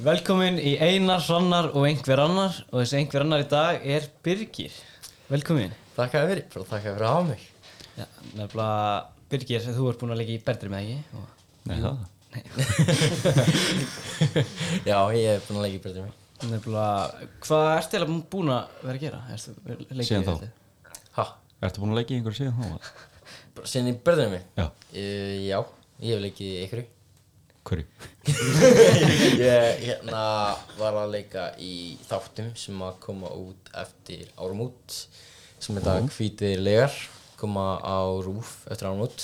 Velkomin í Einar, Hrannar og einhver annar og þessi einhver annar í dag er Birgir Velkomin Takk að fyrir, bara takk að fyrir að hafa mig Já, nefnilega Birgir, þú ert búinn að leika í Bertri með ekki og... Nei, það. Já, ég hef búin að leika í breytið mig Nefnilega, hvað ertu eiginlega búinn að vera að gera? Ertu, leikið Síðan þá. Ha, Ertu búin að leggja í einhverju síðan þá? bara síðan í breytið mig Já, uh, Já, ég hef leikið í ykkur hverju? Ég hérna var að leika í þáttum sem að koma út eftir árumút sem heita uh. Hvítir legar koma á rúf eftir árumút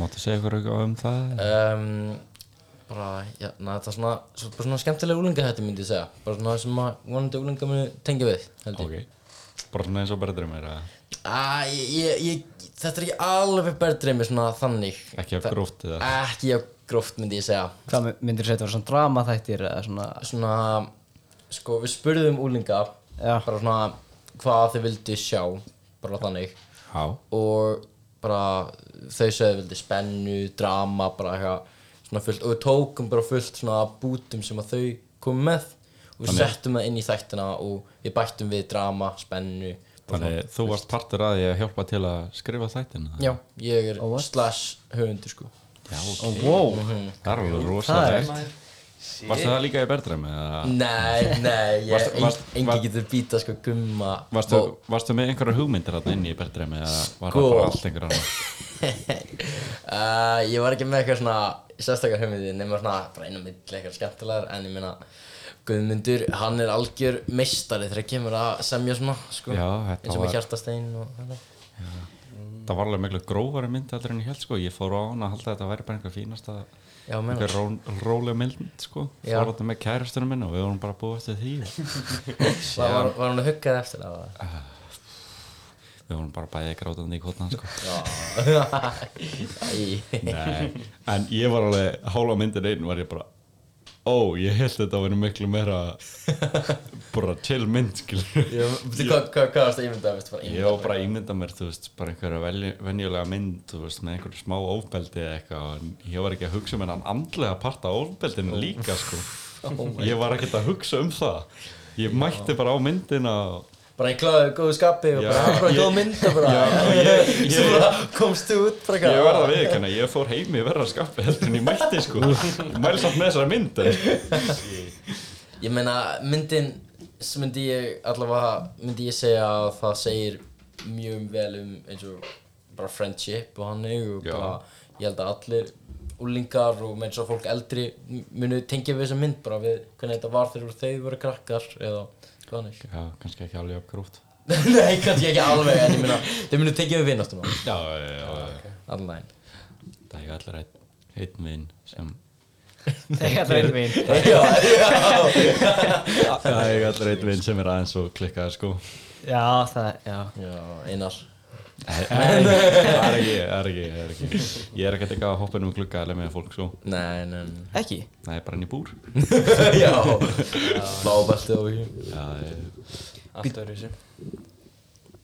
Máttu segja ykkur eitthvað um það? um, bara, hérna, þetta er svona, svo- bara svona skemmtilega úlinga þetta myndi ég segja bara svona sem að vonandi úlinga muni tengja við held ég Ok. Bara svona eins og berður mér að Æ, ég, ég, þetta er ekki alveg berðdreimi svona þannig ekki hafa Þa- gróft eða Ekki af gróft myndi ég segja Hvað my- myndirðu segja þetta var svona drama þættir eða svona Svona, sko við spurðum úlinga Já. Bara svona hvað þau vildu sjá Bara þannig Há. Og bara þau sögðu vildu spennu, drama, bara eitthvað Svona fullt og við tókum bara fullt svona bútum sem að þau komu með Og við settum það inn í þættina og við bættum við drama, spennu bara Þannig þú varst partur að því að hjálpa til að skrifa þættina? Já, ég er slash höfundur sko Já, ok. oh, Wow, Það er alveg það rosalega. er Varstu það líka í berður mér eða? Mm. Nei, nei, ég, Varstu- eng- varst- enginn var- getur býta sko gumma Varstu, varstu með einhverja hugmyndir þarna inni í berðdremi eða var það Sko. bara allt einhverja annar? uh, Ég var ekki með eitthvað svona sérstakar hugmyndi nema svona bara einu milli eitthvað skemmtilegar en ég meina Guðmundur, hann er algjör meistari þegar kemur að semja svona sko Já, þetta eins og var- með hjartastein og þetta Það var alveg miklu grófari mynd heldur en ég held sko. Ég fór á hana að halda að þetta væri bara einhver fínasta, Já, meina, einhver ró, rólega mynd sko. Já. Fór þetta með kærastunum minn og við vorum bara búið eftir því. var, var, var hann að huggað eftir það? eða? Við vorum bara bæðið grátandi í kotna sko. Æ, Nei, en ég var alveg hálfa myndin einn var ég bara Ó, ég held þetta að vera miklu meira bara til mynd, skilur ég- veitu hvað hvað- hvað varst að ímynda? veistu, bara Ég ímynda var bara að ímynda mér, þú veist, bara einhverja velj- venjulega mynd, þú veist, með einhverju smá ofbeldi eða eitthvað en ég var ekki að hugsa um hennan andlega part af ofbeldinu líka, sko Ég var ekkert að hugsa um það Ég mætti bara á myndina og bara í kláðu, góðu skapi og Já, bara, bara ég- góð mynd og bara, ég- svo bara komst þú út bara Ég verða við ekki, ég fór heimi verða skappi heldur en ég mætti, sko Ég mæli samt með þessari mynd, en Ég meina, myndin sem myndi ég allavega, myndi ég segja að það segir mjög vel um eins og bara friendship og hann og Já. bara, ég held að allir úlingar og meins og fólk eldri m- munu tengja við þessa mynd bara við hvernig þetta var þegar þau voru krakkar eða hvað hann er. Já, kannski ekki alveg uppgrútt Nei, kannski ekki alveg, en ég meina, þau munu tengja við vinnáttuna, Já, já, já, já. allavega. Það er allir einn, einn vinn sem þetta er einn veginn Það er allir einn vinn sem er aðeins og klikkaður sko Já, það, já Já, einar. Nei, það er ekki, það er ekki, það er ekki Ég er ekkert eitthvað að hoppa inn um glugga eða með fólk sko Nei, nei, nei. Ekki? Það er bara inn í búr Já, blábeltið og ekki. Já, ég- Allt öðru þessu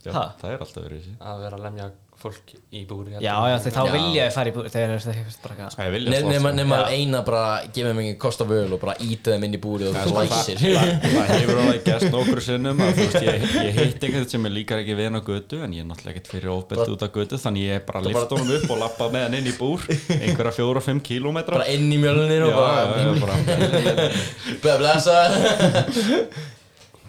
já Ha? það er alltaf verið þessi Að vera að lemja fólk í búri Já, já, þeir þá Já. vilja ég fara í búið Þeir eru þetta bara eitthvað Það er vilja Nefnum sko. að nema eina bara gefa mig ekki kost af öl og bara íta þeim inn í búrið og læsir Það hefur alveg gæst nokkur sinnum að þú veist, ég, ég hitt einhvern sem er líkar ekki vin á götu en ég er náttúrulega ekkert fyrir ofbeldi út á götu þannig ég bara lift honum upp og lappa með hann inn í búr einhverja fjóra og fimm kílómetra bara inn í mjölnir og bara já, bara bara blessa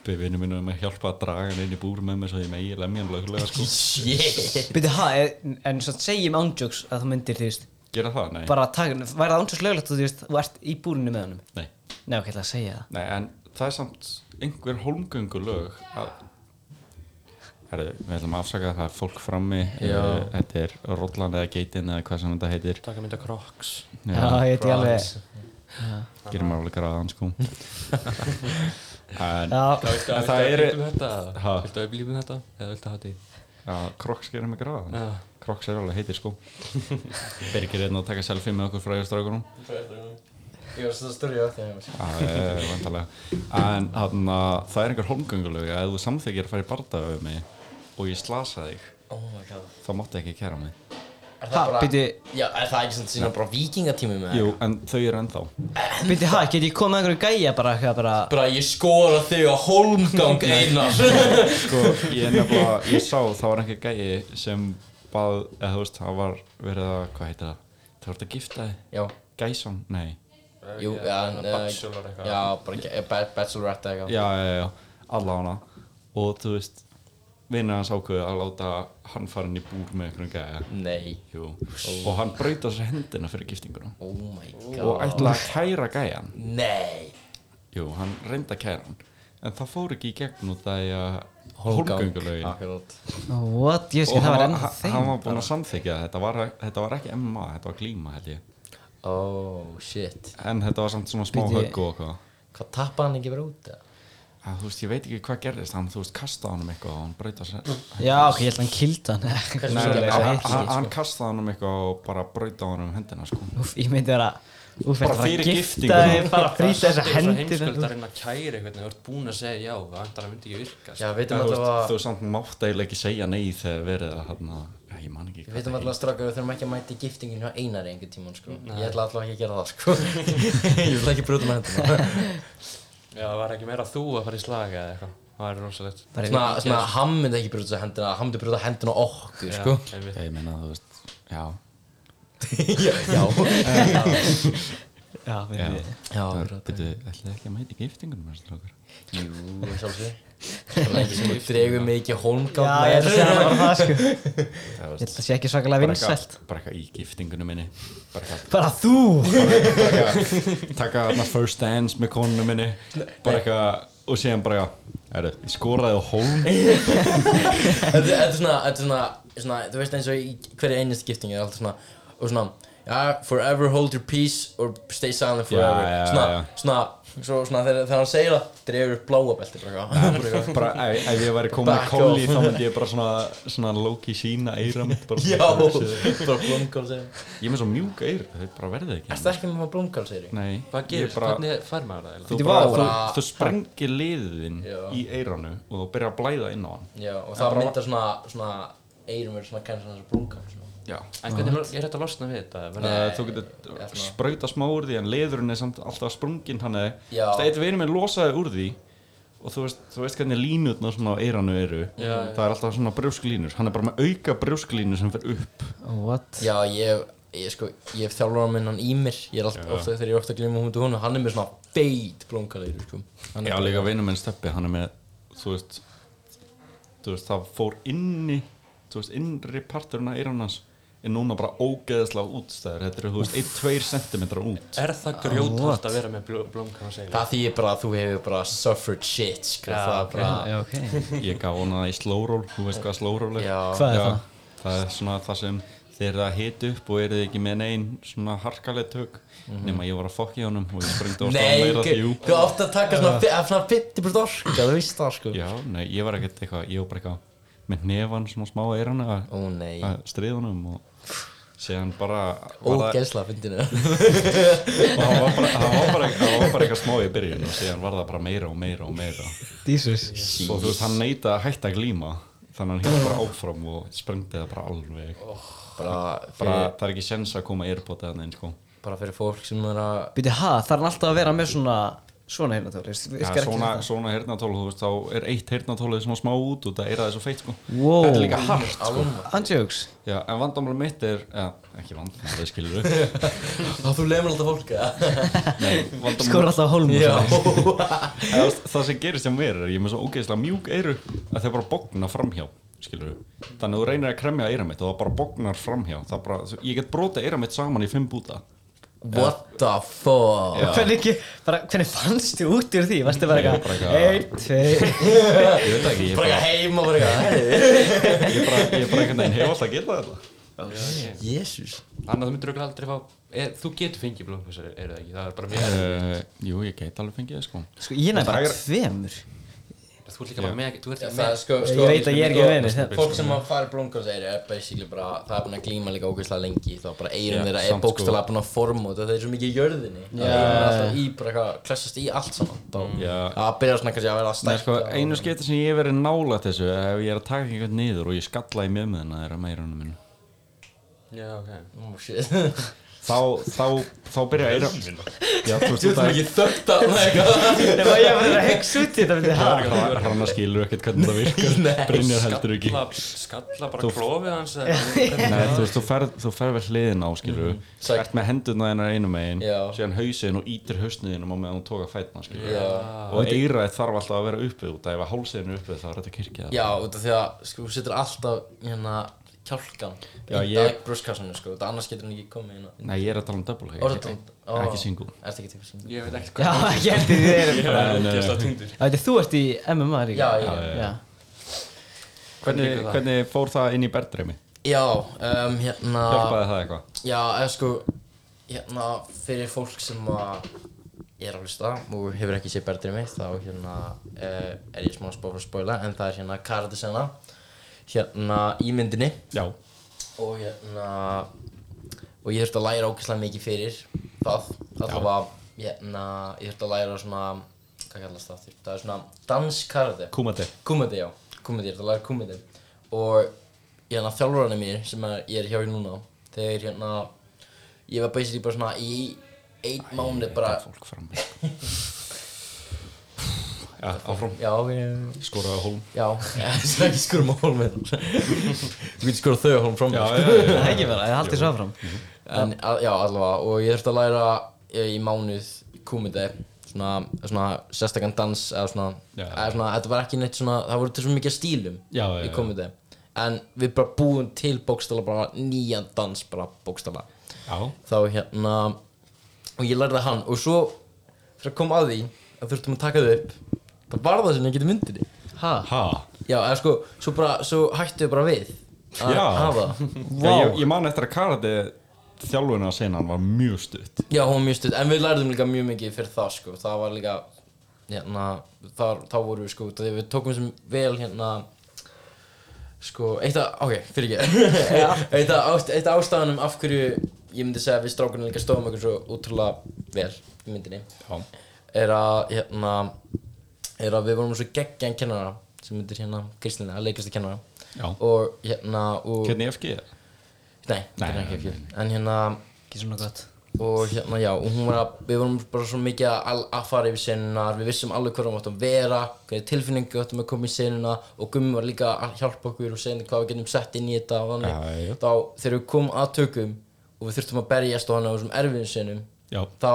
Við vinnum minnum að hjálpa að draga hann inn í búr með mér svo ég megi lemja hann lögulega sko. shit Byrju, ha, en, en svo segjum ándjóks að þú myndir, þú veist Gera það? Nei. Bara taka, væri það ándjóks löglegt og þú veist Þú ert í búrinu með honum Nei. Nei, ok, ég ætla að segja það Nei, en það er samt einhver holmgöngu lög að... Herru, við ætlum að afsaka það er fólk frammi. Já. eh, Þetta er Rollan eða Geitin eða hvað sem þetta heitir. Taka mynda kroks Já, ég veit ég alveg Gerum alveg gráðan sko. en Já, En Það það er eru- Viltu að upplýfum Ha? þetta? Viltu að upplýfum þetta? Eða viltu að hafa þetta í? já, Crocs gerum við gráðan. Já. Crocs er alveg heitir sko. Birgir er hérna að taka selfie með okkur frægjastrákunum. ég var svona störri á þetta Já, já, já, já, væntanlega. en þarna, það er einhver holmgöngulög að ef þú samþykir að fara í bardaga við mig og ég slasa þig oh my god þá máttu ekki kæra mig Er það Ha, bara- býti, Já, er það ekki svona sína bara vikingatími með Jú, en þau eru ennþá býti, ha, get ég komið einhverju gæja bara, hvað bara Bara ég skora þig á holmgang einar Sko, ég nefnilega, ég sá, það var einhver gæi sem bað, eða þú veist, það var verið að, hvað heitir það? Það voru að gifta þig? Já, Gæsan? Nei. jú, Eða já, svona eh, bachelor eitthvað. Já, bara ge- eh, ba- bachelorette eða eitthvað Já, já, já, já, alla hana. Og þú veist, vinnar hans ákveðu að láta hann fara inn í búr með einhverjum gæja. Nei, Jú. Og hann braut á sér hendina fyrir giftinguna. oh my Og god ætlaði að kæra gæjan. Nei Jú, hann reyndi að kæra hann En það fór ekki í gegn út af því að Hólmgang, Hólmgöngulögin Akkurát What, ég skil, hann það var var, ennþá hann- hann þeim var búinn að samþykja það. þetta var, þetta var ekki MMA, þetta var glíma held ég Oh shit En þetta var samt svona smá Bíddu. högg og eitthvað Hvað tappa hann ekki verið út eða? Að, Þú veist, ég veit ekki hvað gerðist Hann, þú veist, kastaði honum eitthvað og hann braut á sér Já, ok, ég held að hann kildi hann Hversu Nei, mikið nei, var hann- hitt, hann- sko? Hann kastaði honum eitthvað og bara braut á honum hendina sko Úf, ég myndi vera Úf, Bara þetta var fyrir gifta giftingu. þig, bara frýta þessa hendi Það er svo heimskulda að reyna að kæra eitthvað Þú ert búin að segja já, það vantar að myndi ekki virka Já, sko. við veitum En Þú alltaf veist, að þú samt mátt eiginlega ekki segja nei þegar verið að hann Ég man ekki Við veitum það alltaf strákar, við þurfum ekki að mæta í giftinginu á einari einhvern tímann sko Ég ætla alltaf ekki að gera það sko Ég ætla ekki að brjóta með hendina Já, það var ekki meira þú að fara í slaga eða eitthvað Það var rosalegt Svona, svona, hann myndi ekki brjóta sér hendina, hann myndi brjóta hendina á okkur sko Já, einmitt. Ég meina, þú veist, já Já, já Já, við Já. Já, akkurát Byrju, ætlaði ekki að mæta í giftingunum þessar strákar? Jú, sjálfsög Það er ekki sem þú dregur mig ekki hólmgang Já, ég ætla að segja það bara það, sko Ég Það held að það sé ekki svakalega vinsælt Bara eitthvað í giftingunum minni Bara eitthvað- Bara þú bara eitthvað Taka þarna first dance með konunum minni Bara eitthvað Og síðan bara eitthvað Ég skoraði á hólm Þetta þetta er svona, þetta er svona, svona, þú veist eins og í hverju einnist giftingi er alltaf svona, og svona, já, forever hold your peace or stay silent forever. já, svona, já. svona, svo, svona þegar, þegar hann segir það, drefur upp bláa belti bara eitthvað. Bara ef, ef ég væri komið með Back kóli off. Þá myndi ég bara svona Svona loki sína eira mitt bara, Já, bara blómkál segir. Ég er með svo mjúk eir Þau bara verði ekki hérna. Erstu ekki með blómkál segir ég? Nei Hvað ég gerist? bara- Hvernig fær maður það Þú, eiginlega? Bíddu, bara, vá. þú, Bara- þú sprengir liðin Já. í eiranu og þú byrjar að blæða inn á hann Já, og það myndar svona, svona, eirum verður svona kænir svona blómkál svona. Já. En hvernig lo- er þetta að losna við þetta? Verða- Uh, Nei, þú getur ég ætla- sprauta smá úr því en leðurinn er samt alltaf sprunginn hann eða Já. Það eitt vinur minn losaði úr því og þú veist, þú veist hvernig línutna svona á eiranu eru Já, Það er alltaf svona brjósklínur, hann er bara með auka brjósklínu sem fer upp What? Já, ég, ég sko, ég hef þjálfur minn hann í mér, ég er alltaf, ofta, þegar ég er ofta að glíma hún til hún, hann er með svona beit blómkál eirum, sko. Hann er Já, líka vinur minn steppi, hann er með, þú veist, þú veist, það fór inni, þú veist, innri parturinn af eiranu hans er núna bara ógeðslega útstæður, þetta eru, þú veist, 1-2 cm út Er það grjóthart að vera með blómkana segla? Það þýðir bara að þú hefur bara suffered shit, sko, Já, það er bara, Já, ok Ég gaf hana það í slowroll, þú veist hvað slowroll er já, Hvað er Já, það? það er svona það sem þeir eru að hita upp og eru ekki með neinn svona harkaleg tök nema ég var að fokka í honum og ég springdi á staðan Mhm. nei, meira því jú ok, þú átt að taka svona, uh. svona 50% orka, þú veist það, sko. Já, nei, ég var ekkert eitthvað, ég var bara eitthvað með nefann svona smá eirana að- Ó, nei, að stríða honum og síðan bara var það- ógeðslega fyndinu. og það var bara- það var bara það var bara eitthvað smá í byrjun og síðan var það bara meira og meira og meira Jesus og þú veist, hann neitaði að hætta að glíma þannig að hann hitt bara áfram og sprengdi það bara alveg bara, bara, fyrir, það er ekki sens að koma eirpota þannig eins sko bara fyrir fólk sem er að, Býti, ha, það er hann alltaf að vera með svona Svona hérna, þú veist Já, virkar ekki svona, þetta. svona heyrnartól, þú veist, þá er eitt heyrnartól svona smá út og það er aðeins svo feitt, sko. Wow. Þetta er líka hart, sko. Andjóks Já, en vandamál mitt er, ja, ekki vandamál, það skilur við. þá þú lemur alltaf fólk, eða? Nei, vandamál, Skor alltaf sko. hólm Já, eða, þú veist, það sem gerist hjá mér er, ég er með svo ógeðslega mjúk eyru að þau bara bogna framhjá, skilur við. Þannig að þú reynir að kremja eyra mitt og það bara bognar framhjá. Það bara, þú- ég get brotið eyra mitt saman í fimm búta. what the fuck? Hvernig, ekki- bara, hvernig fannst þið út úr því? Varstu bara Ég bara eitthvað eitthvað- Einn, tvei Ég veit það ekki, ég Bara bara, eitthvað heima, bara eitthvað, ég bara, ég bara einhvern veginn hef alltaf getað þetta. hei, jésús. Annað þú myndur aldrei fá er, Þú getur fengið blómkana eru það ekki? Það er bara mjög Uh, jú, ég get alveg fengið það, sko. Sko, ég nefn Það bara er- tveimur Þú ert líka bara með Þú ert Já, það, ekki með er sko, Ég sko, veit að ég er ekki sko, vinur, þetta- Fólk sem að fara í blómkálseyri er basically bara, það er búin að glíma líka ógeðslega lengi þá bara eirum Já, þeirra samt er sko. bókstala búin að forma þetta það er svo mikið í jörðinni það er alltaf í bara eitthvað, klessast í allt saman þá Já, það byrjar svona kannski að vera að Nei, sko, stækka og- einu skipti sem ég hef eh, verið nálægt þessu er ef ég er að taka einhvern niður og ég skalla í mjög með þeirra meirunum minn Já, ok. Oh shit þá, þá, þá byrja eira já, þú veist Þú ert þetta ekki þögt að það eitthvað Nefnum að ég var að hugsa út í þetta myndi ha. er hann að skilur ekkert hvernig það Nei. virkar Brynjar heldur ekki Skalla, skalla bara Þú- klófið hans eða- Nei, þú veist, þú ferð, þú ferð vel hliðin á, skilur mm. Sæk- Ert með hendurna hennar einu megin Mhm. Já. Síðan hausinn og ítir hausniðin og meðan hún tóka fætna, skilur Já. Ah, Og eiraðið þarf alltaf að vera uppið út af Ef að hálsiðin er uppið þá er þetta kirkjað Já, út af því að sko, þú setur alltaf hérna kjálkan Já, í ég- dag brúskassanum sko, þetta annars getur hann ekki komið hérna Nei, ég er að tala um double Orða ekki, tónd ekki single Ertu ekki til single? Ég veit ekkert Já, hvað ég held að þið erum það er. Nei, nei, Gesta nei. tundur. Þetta er þú ert í MMA Já, líka já, já, hvernig, Liggur það? hvernig fór það inn í berndreimi? Já, um, hérna Hjálpaði það eitthvað? Já, eða sko hérna fyrir fólk sem að er að hlusta og hefur ekki séð berðrið mig þá hérna uh, er ég smá spóf að spóla en það er hérna karatesena hérna í myndinni Já, og hérna og ég þurfti að læra ógeðslega mikið fyrir það alltaf að hérna ég þurfti að læra svona hvað kallast það það er svona danskarate kúmati komedi já komedi ég þurfti að læra komedi og hérna þjálfurarnir mér sem er, ég er hjá í núna þegar hérna ég var basically bara svona í einn mánuð bara Fólk fram Já, áfram já ég Skoraði á hólm já það er ekki skurum á hólmið þú getur skurað þau á hólm fram Já, sko. já, já, já. Það er ekki bara, ég haldi svo áfram En, a, já, allavega, og ég þurfti að læra eh, í mánuð kúmiti svona, svona sérstakann dans eða svona, Já. eða svona, þetta var ekki neitt svona, það voru til svo mikið af stílum Já, já, í já. kúmiti en við bara búum til bókstala bara nýjan dans bara bókstala Já, þá hérna og ég lærði hann og svo þegar kom að því að þurftum að taka þau upp það var það sem ég geti myndinni Ha? ha já, eða sko, svo bara, svo hættu við bara við að Já. hafa það Já, ég, ég man eftir að karate þjálfuna senan var mjög stutt Já, hún var mjög stutt, en við lærðum líka mjög mikið fyrir það sko, það var líka hérna, þar, þá vorum við sko út af því að við tókum sem vel hérna sko, eitt af, ok, fyrir ekki eitt af ást- eitt af ástæðanum af hverju ég myndi segja að við strákunum líka stóðum okkur svo útrúlega vel í myndinni Já er að hérna er að við vorum svo geggjan kennara sem myndir hérna Kristina, leikastu kennara Já. og hérna og, Hvernig FG er? nei, nei, Nei, nei, nei, nei, nei, en hérna Ekki svona gott og hérna já, og hún var að, við vorum bara svo mikið að, al- að fara yfir senunar, við vissum alveg hvað við áttum að vera, hverja tilfinningu við áttum að koma í senuna og Gummi var líka að hjálpa okkur og segja hvað við getum sett inn í þetta og þannig, Já, já. þá þegar við komum að tökum og við þurftum að berjast og hann á þessum erfiðum senum, Já. þá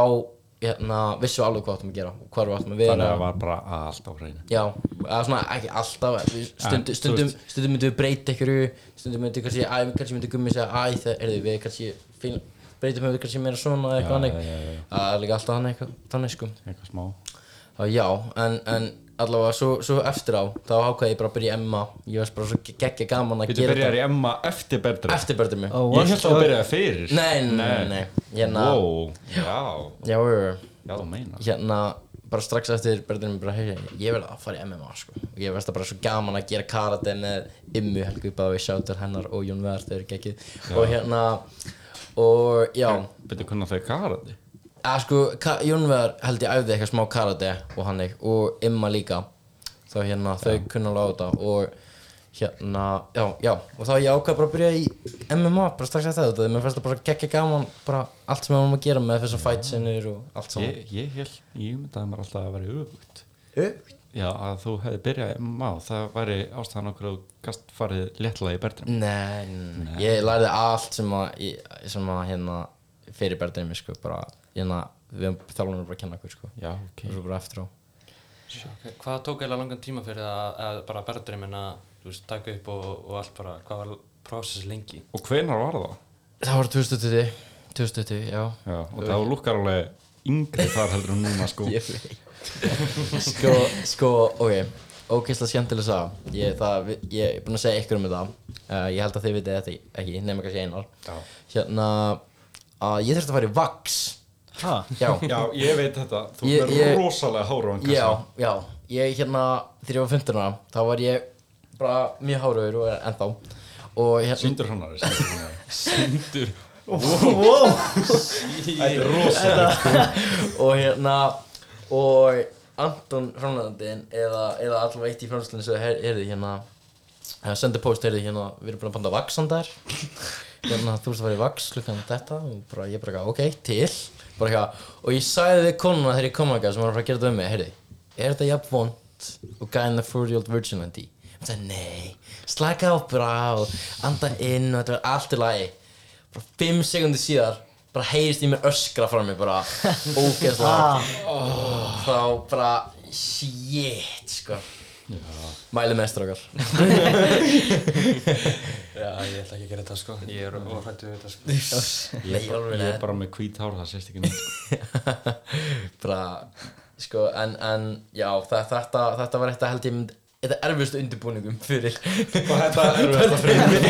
hérna, vissum við alveg hvað við áttum að gera og hvað við áttum að vera. Þannig að það var bara allt á hreinu Já, eða svona ekki alltaf, við stundum, þú stundum, stundum myndum við breyta ykkur, stundum myndum við kannski, æ, kannski myndum gummi segja, æ, það er við kannski, fín, breytum við kannski meira svona eða eitthvað annað, já, það er líka alltaf hann eitthvað, þannig sko. Eitthvað smá Þá já, en, en allavega svo, svo eftir á, þá ákvaði ég bara að byrja í Emma, ég var bara svo ge- geggja gaman að Þú gera byrjar í Emma eftir berndreim eftir börnum mig. Oh, Ég what? held að þú byrjaði fyrir Nei, nei, nei, nei, hérna, Wow, já, já, já, já. já, þú meinar hérna bara strax eftir berðinu bara heyja, ég verði að fara í MMA sko og ég verði bara svo gaman að gera karate með Immu Helgu Bávi, Sjátur hennar og Jón Veðar þau eru geggið og hérna og já Byrju hvernig þau karati að sko Ka- Jón Veðar held ég æfði eitthvað smá karate og hann ekki og Imma líka þá hérna þau kunna alveg á þetta og hérna já já og þá ég ákvað bara að byrja í MMA bara strax eftir þetta mér fannst það bara geggja gaman bara allt sem við varum að gera með þessar fight sinnur og allt saman Ég, ég held, ég myndaði mér alltaf að vera öfugt yeah. Já, að þú hefði byrjað í MMA Það væri ástæðan okkur að þú gast farið léttlega í berndreim Nei, nei, ég lærði allt sem að, ég- sem að hérna fyrir berðinni sko, bara hérna, við þjálfum bara að kenna okkur sko, Já, ok og svo bara eftir á. Ok, Hvað tók eiginlega langan tíma fyrir að, að bara berðdreimin að, þú veist, taka upp og, og allt bara, hvað var prósess lengi? Og hvenar var það? Það var 2020, 2020, já. Já, og það lukkar alveg yngri þar heldur en núna sko Ég veit. sko, sko, ok, ógeðslega skemmtileg sá, ég, það, við- ég er búinn að segja ykkur um þetta, uh, ég held að þið vitið þetta ekki, nema kannski einar. Já. Hérna, að ég þurfti að fara í VAX, Ha? já. Já, ég veit þetta, þú Ég- er ég- rosalega háruðan Já, já, ég hérna þegar ég var 15 ára, þá var ég bara mjög háraugur og er ennþá og hérna, Sýndur hann aðeins sýndur hann aðeins. Tindur. Þetta er rosalega og hérna og Anton framlæðandinn eða, eða allavega eitt í framlæðandinn sem heyrði hérna eða sendi post heyrði hérna, við erum búin að banda vaksandar hérna, þú veist að fara í vaks klukkan þetta og bara, ég bara, eitthvað, ok, til bara eitthvað, og ég sagði við konuna þegar ég kom að sem var að fara að gera þetta um mig, heyrði er þetta jafn vond og guy in the 40 old virgin landi hann sagði, nei, slaka á bara og anda inn og þetta var allt í lagi bara 5 sekundi síðar bara heyrist í mér öskra frá mér bara ógeðslega Ah. oh, þá bara, shit sko, mæli með strákar Já, ég ætla ekki að gera þetta sko Ég er óhrættu við þetta sko Nei, Ég er bara, alveg ég nei. er bara með hvít hár, það sést ekki neitt sko. bara sko en, en já þa- þetta, þetta var eitthvað held ég mynd þetta erfiðustu undirbúningum fyrir Og þetta er þetta fyrir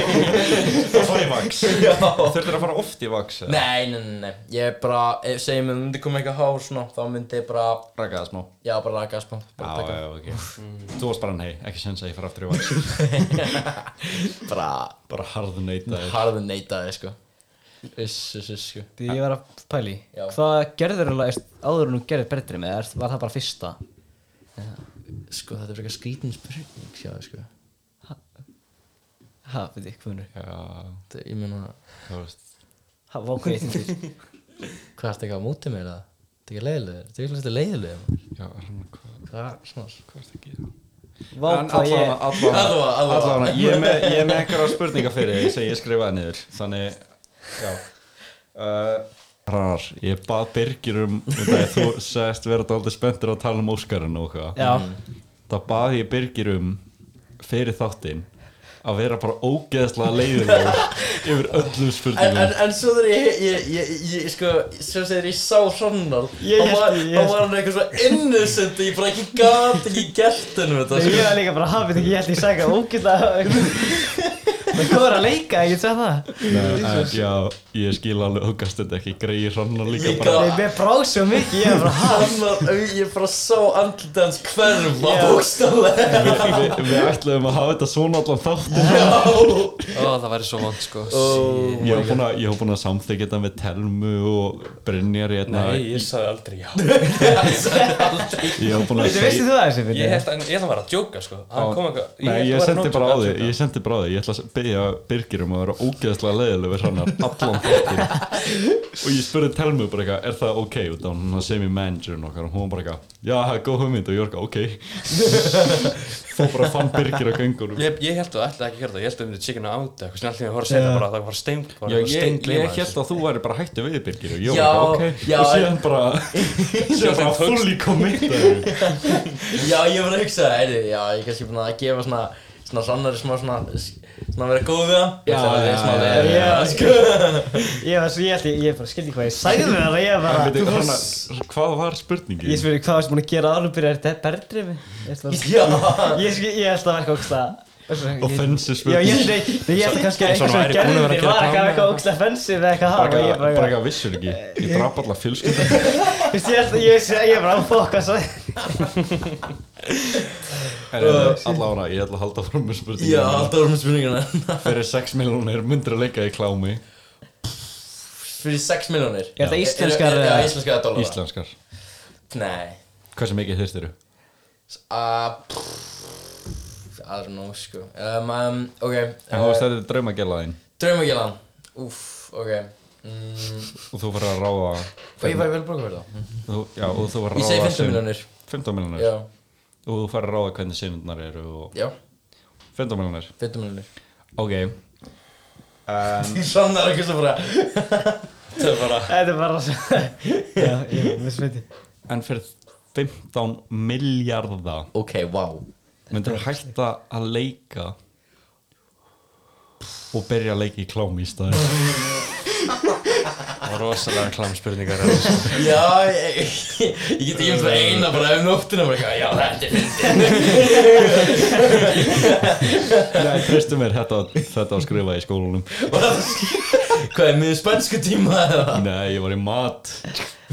Það fara í vaks Þurftir að fara oft í vaks eða? nei, nei, nei, nei, ég bara ef- segjum við myndi koma eitthvað hár svona þá myndi ég bara, Raka það smá já bara raka smá bara, Já, taka- Mm. já, ok Þú varst bara nei, ekki sens að ég fara aftur í vaks bara Bara harðu neyta harðu neytaði sko uss, uss, uss sko Því ég var að pæli Já. Hvað gerður alveg áður en þú gerðir berðri með er, Var það bara fyrsta? sko þetta er frekar skrítin spurning sjá sko Ha, veit ég, hvað munur Já, þetta, ég meina þú veist Ha, vá, hvað ég þindir hvað ertu eitthvað á móti mér það þetta er ekki leiðilegur þetta er ekki leiðilegur maður. Já, hann, hvað, hvað svona hvað er það að gera? Vá, En hvað ég allavega- allavega- Allavega, allavega. allavega, Ég er með, ég er með einhverja spurningar fyrir því sem ég skrifaði niður Þannig, já uh, Hrannar, ég bað Birgir um það, Þú sagðist vera dálítið spenntur að tala um Óskarinn og hvað Já, Þá bað ég Birgir um fyrir þáttinn að vera bara ógeðslega leiðilegur yfir öllum En, en, spurningum en svo þegar ég, ég, ég, ég, sko, svo þegar ég sá Hrannal Ég þá var, hélt- ég þá hélt- var hann eitthvað svo innocent og ég bara ekki gat ekki gert hennu þetta ég sko. var líka bara hafið ekki, ég held ég sagði ógæta Það var að leika, ég sagði það Nei, en, Já, ég skil alveg ógast þetta ekki greið Hrannar líka Líka. bara Ég mér brá svo mikið, ég var bara Hrannar, au, ég bara sá andlitið hans hverfa Já. bókstálega við, við, við ætluðum að hafa þetta svona allan þáttinn Ó, það væri svo vond sko Ég hef búin að, ég var búinn að samþykja þetta með Telmu og Brynjar hérna Nei, Ég ég sagði aldrei já hef búin að Þú veistu segja þú það þessi Ég held að ég ætla bara að djóka sko Hann kom eitthvað Nei, ég var að sendi bara á nota- þig, ég sendi bara á þig Ég ætla að byggja Birgir um að vera ógeðslega leiðileg við hrannar allan þáttinn Og ég spurði Telmu bara eitthvað, er það ok? Og þá var hún sem í managerin okkar og hún var bara eitthvað Já, það er góð hugmynd og ég var eitthvað, ok Fó bara fann Birgir á göngunum Ég, ég held að það ætla ekki að gera það, ég held að það myndi chicken out eitthvað sem alltaf ég voru að segja það bara, það var stein, Já, bara ég, ég steingleyma held að þú væri bara hættu við Birgir og ég Já, var eitthvað, ok já, Og síðan bara, síðan bara fully committed Já, ég var að hugsa það, heyrðu, já, ég er kannski búin að gefa svona svona Hrannari smá svona svona vera góð við hann Já, já, já, já, já. sko Ég var svo, ég held ég, ég bara skildi hvað ég sagði það Ég En bara, byrju, þú hana, fórst hvað var spurningin? Ég spyrir hvað varstu búin að gera áður en þú byrjar þetta berðrimi Ég ætla að- Já, Ég skil, ég held að það var eitthvað ógsta Offensive Já, ég spurning held að, ég held kannski að Eins og eitthvað hann sem væri búin að vera gerðir að gera var plan. eitthvað eitthvað ógsta offensive eða eitthvað hafa Ég bara, þú Eh, Bara eitthvað- bara eitthvað vissur ekki Ég draf alla fjölskylda veist, ég held að, ég veist, ég bara, fokk, hvað sagði Alla ára, hérna, ég ætla að halda fram með já, spurningin Hérna, alltaf vorum spurninguna Fyrir 6 miljónir myndir að leika í klámi Fyrir 6 miljónir Er þetta íslenskar Já, eða- íslenskar dólar Íslenskar Nei Hversu mikið þeirst eru? Uh, pff, I don't know, sko. Um, um, ok. En þú Uh, veist þetta er draumagelaðin Draumagjölan. Úff, ok. Mm, Og þú fyrir að ráða og ég væri vel bróka fyrir það. þú- Já, og þú fyrir að Ég segi ráða 15 miljonir. 15 Já, miljónir Og þú fyrir að ráða hvernig sinundnar eru og já, 15 miljónir 15 miljonir. Ok Um, En Sannar ekki svo bara. Það er bara, Þetta er bara svo Já, ég er smiti en fyrir 15 miljardar Ok, wow. myndir hætta að leika og byrja að leika í klám í staði það var rosalega klamspurningar Já, ég, ég, ég get ekki um það eina bara um nóttina bara eitthvað, já, þetta er fyndið. Nei, treystu mér, þetta, þetta að skrifa í skólanum Og það Hvað er miður spænsku tíma eða? Nei, ég var í mat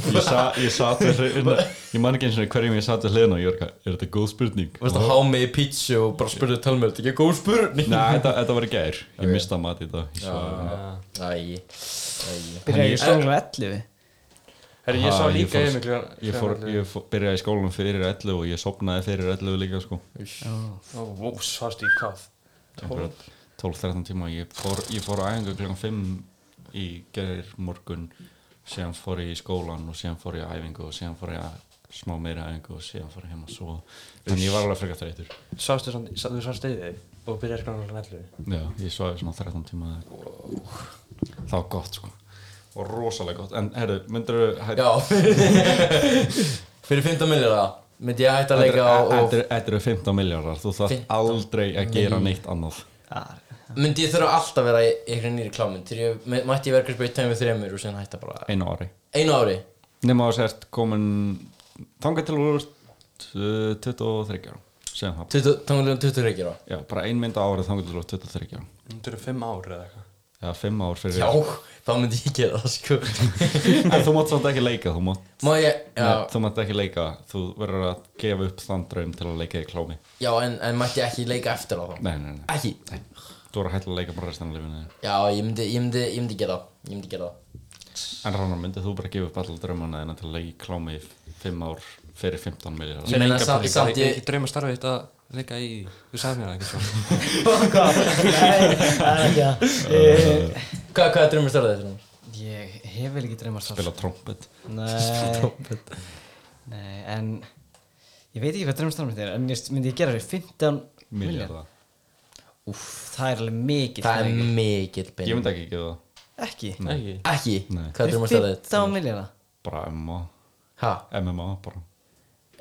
Ég, sa, ég satt við hliðina Ég man ekki eins og hverjum ég satt við hliðina og ég var eitthvað, er þetta góð spurning? Varst að há mig í pítsu og bara spurði að tala mér, þetta er ekki góð spurning. Nei, þetta, þetta var í gær Ég mista mat í dag ég svaf. Æ, æ. Byrja ekki stónglega 11 Herri, ég sá Ha, líka fór- yfir mig klukkan- Ég, fór, ég fór, byrjaði í skólanum fyrir 11 og ég sopnaði fyrir 11 líka sko Ó, vó, svast í hvað? Einhverja 12-13 tíma ég fór, ég fór á æfingu kl. 5 í gerir morgun síðan fór ég í skólan og síðan fór ég á æfingu og síðan fór ég að smá meira æfingu og síðan fór ég heim að svo en ég var alveg frekar þreytur Sástu samt, sá- þú sást yfir þig og byrjar skrána alveg nættu Já, ég svaði svona 13 tíma eða eitthvað. Það var gott sko og rosalega gott, en herru, myndir Já Fyrir 15 miljóra myndi ég hætta að leika og Þetta eru 15 miljardar, þú þarf 15 aldrei að gera neitt annað myndi ég þurfa alltaf að vera í einhverjum nýri klámynd þegar ég m- mætti ég verkar spyrir tæmi þremur og sen hætta bara einu ári einu ári nema að sért komin þangað til úr eh, 23 ára sem það, 20 tónlega 20 reykir á já, bara ein mynd á ári þangað til úr 23 ára, Þú eru fimm ár eða eitthvað eða 5 ár fyrir Já, þá myndi ég gera það sko en þú mátt svolítið ekki leika þú mátt, Má ég, já, nei, þú mátt ekki leika þú verður að gefa upp þann draum til að leika í klámi já en, en mætti ég ekki leika eftir á þá nei, nei, nei, Ekki þú verður að hætta að leika bara restan af lifinu þínu. Já, ég myndi, ég myndi, ég myndi gera það Ég myndi gera það en rannar myndið þú bara gefa upp allar draumana en til að leika í klámi í 5 ár fyrir 15 miljardar Ég meina Líka samt, bara- samt Ég, ég ég drauma starfið þetta að leika í Þú sagði mér það ekki svo Hvað? Nei, það er ekki það Eh, Hvað, hvað er drömmur stærðið þér? Ég hef vel ekki dreymar sátt spila trompet Nei Nei, en Ég veit ekki hvað dreymstarfið er En ég myndi ég gera þér 15 milljarða miljardar, Úff, það er alveg mikið Það er peningur. mikill ég pening myndi ekki gefa það Ekki Ekki Ekki, Nei. hvað er drömmur stærðið þér? 15 milljarða bara MMA, Ha? MMA bara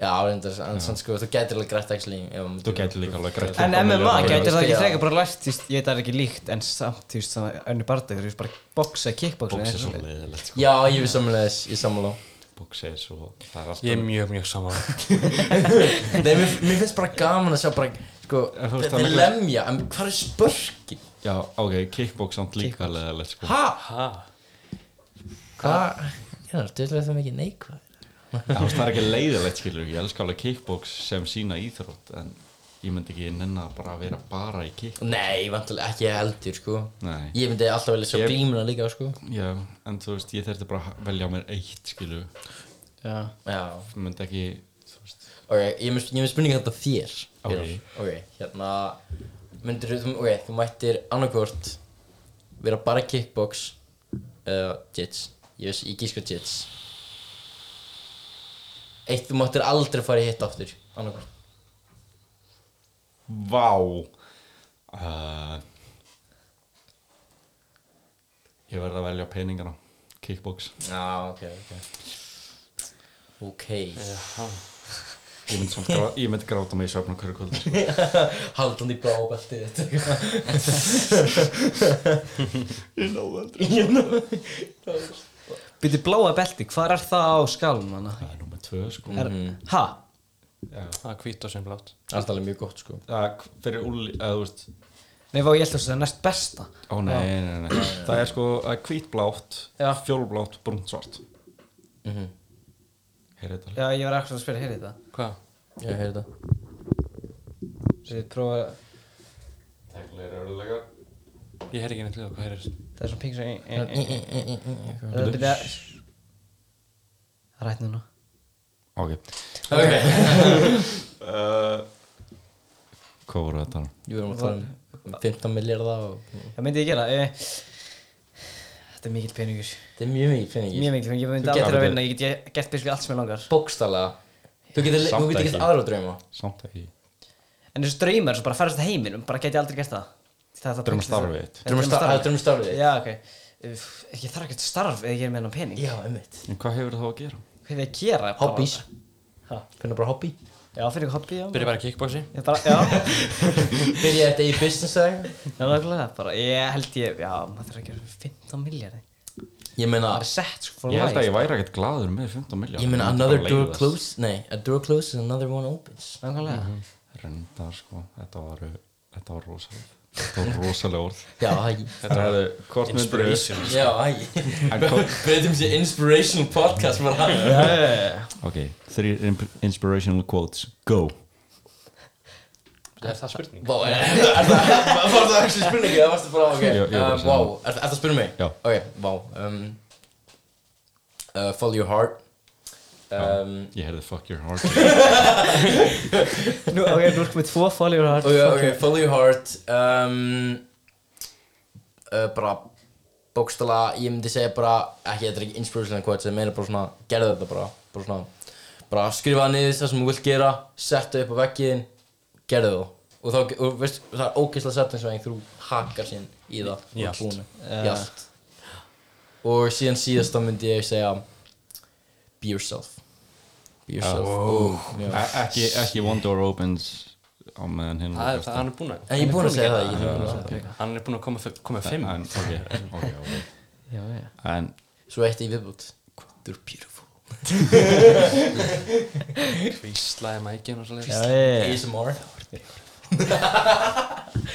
Já, reyndar, en sann sko, þú gætir alveg grætt actually ef hún- Þú gæti líka alveg greitt En 15 MMA milljarða. gætir það ekki Já. frekar bara lært, þú veist, ég veit það er ekki líkt en samt, þú veist, þannig önnu barndeg, þú veist, bara boxa, kickboxa Box eða er svo svoleiðis. leiðilegt sko. Já, ég við samlega þess, ég samlega Box er svo Það er alltaf Ég er mjög, mjög saman Nei, mér, mér finnst bara gaman að sjá bara, sko, En þú veist, þetta það er er miklu- lemja, en hvað er spörki? Já, ok, kickbox samt líka leiðilegt sko. Ha? Ha? Hvað? Ég er dyrlega það mikið neikvæð Já, þú veist, Það er ekki leiðilegt skilur Ég elska alveg kickbox sem sína íþrótt En ég myndi ekki nenni að bara vera bara í kick Nei, vantulega ekki heldur, sko Nei. Ég myndi alltaf velja sjá Ég- glímuna líka, sko Já, en þú veist, ég þurfti bara að velja mér eitt skilur Já. Já, Þú myndi ekki þú veist, ok, ég er með ég er með spurningu þetta þér Ok. Vinar. Ok, hérna, myndir þú, ok, þú mættir annarkvort vera bara kickbox eða jits Ég veist, ég gíska jits Eitt, þú máttir aldrei fara í hitt aftur Annarkvort Vá uh, Ég verði að velja peningana Kickbox Já, ok, ok Ok, Ég myndi, samt grá, ég myndi gráta mig í svefn á hverju kvöldi sko. haldandi blá beltið þetta Ég náðu aldrei Býttu bláa belti, hvað er það á skálum hana? Það er nummer tvö sko Er, ha? Það er hvít og sem blátt Alltaf alveg mjög gott, sko Það fyrir úli, eða þú veist Nei, vá, ég held að það er næst besta. Ó nei, nei, nei, nei Það er sko það er hvítblátt, Já. fjólblátt, brúnt, svart Mhm. Heyrðu þetta alveg? Já, ég var ekkert að spyrja, heyrðu þetta. Hvað? Já, heyrðu þetta Svo ég prófa, Teglir eru lega Ég heyr ekki neitt liða hvað heyrist það er svona pink svo... eh. Það er byrja... Það rætt núna. Ok Ok uh, Hvað voru þetta? Við erum að tala um 15 miljardar og Það myndi ég gera. Eh, þetta er mikill peningur. þetta er mjög mikið peningi Mjög mikill peningur, ég myndi Þú getur- aldrei að vinna, ég get gert byrja allt sem ég langar. Bókstallega Þú getur Samt þú getur ekki. gert aðra drauma Samt ekki En þessu draumar, svo bara ferðast að heiminum, bara get ég aldrei gert það. það. er það Draumastarfið pengst- Já, þitt. Drauma starf, draumastarfið. drauma um starfið Já, ok. Uff, Ég þarf ekkert starf eða ég er með hennan pening. Já, einmitt En hvað hefur það að gera? Hvað er ég að gera? Bara- Hobbís Ha? Finna bara hobby Já, fyrir ykkur hobby, já. Byrja bara í kickboxi Ég bara, já. Byrja þetta í business eða eitthvað Já, nákvæmlega, bara ég held ég, já, maður þarf ekki að gera 15 miljardi Ég meina Það er sett for Ég held að life ég væri ekkert gladur með 15 miljón Ég meina another door closes Nei, a door closes another one opens Nákvæmlega Rundar sko, þetta var, þetta var rosalega Þetta var rosalega orð Já, hæ Þetta hefði hvort myndir Já, hæ Breytum sér inspirational podcast bara Eh, Ok, þrýr inspirational quotes Go Er það spurning? Vá, er er það Var það ekki spurningi? Það varstu bara, ok Ég- ég var bara að um, Vá, segja það. er það að spurning mig? Já. Ok, vá um, uh, Follow your heart um, Ég heyrði fuck your heart Nú, ok, nú erum við tvo follower hard oh, Ok, ok, follow your heart um, uh, bara bókstala, ég myndi segja bara ekki, þetta er ekki inspirational quotes, ég meina bara svona gerðu þetta bara, bara svona bara skrifaðu niður það sem þú vilt gera settu upp á veggiðin, gerðu það og þá, og veist, það er ógeðslega setningsvæðing þú hakar síðan í það Í og allt. búinu, Eh, í allt og síðan síðast þá myndi ég segja be yourself be yourself og, já. E- ekki, ekki One Door Opens á meðan hinn Það er það, hann er búinn að en ég er búinn að segja það ég er búinn að segja það Hann er búinn að koma, f- koma með fimm En, ok, ok, ok já, já. En, svo eitt í viðbútt you're beautiful Hvíslaði mækinn og svo Já, leiðist já, já. ASMR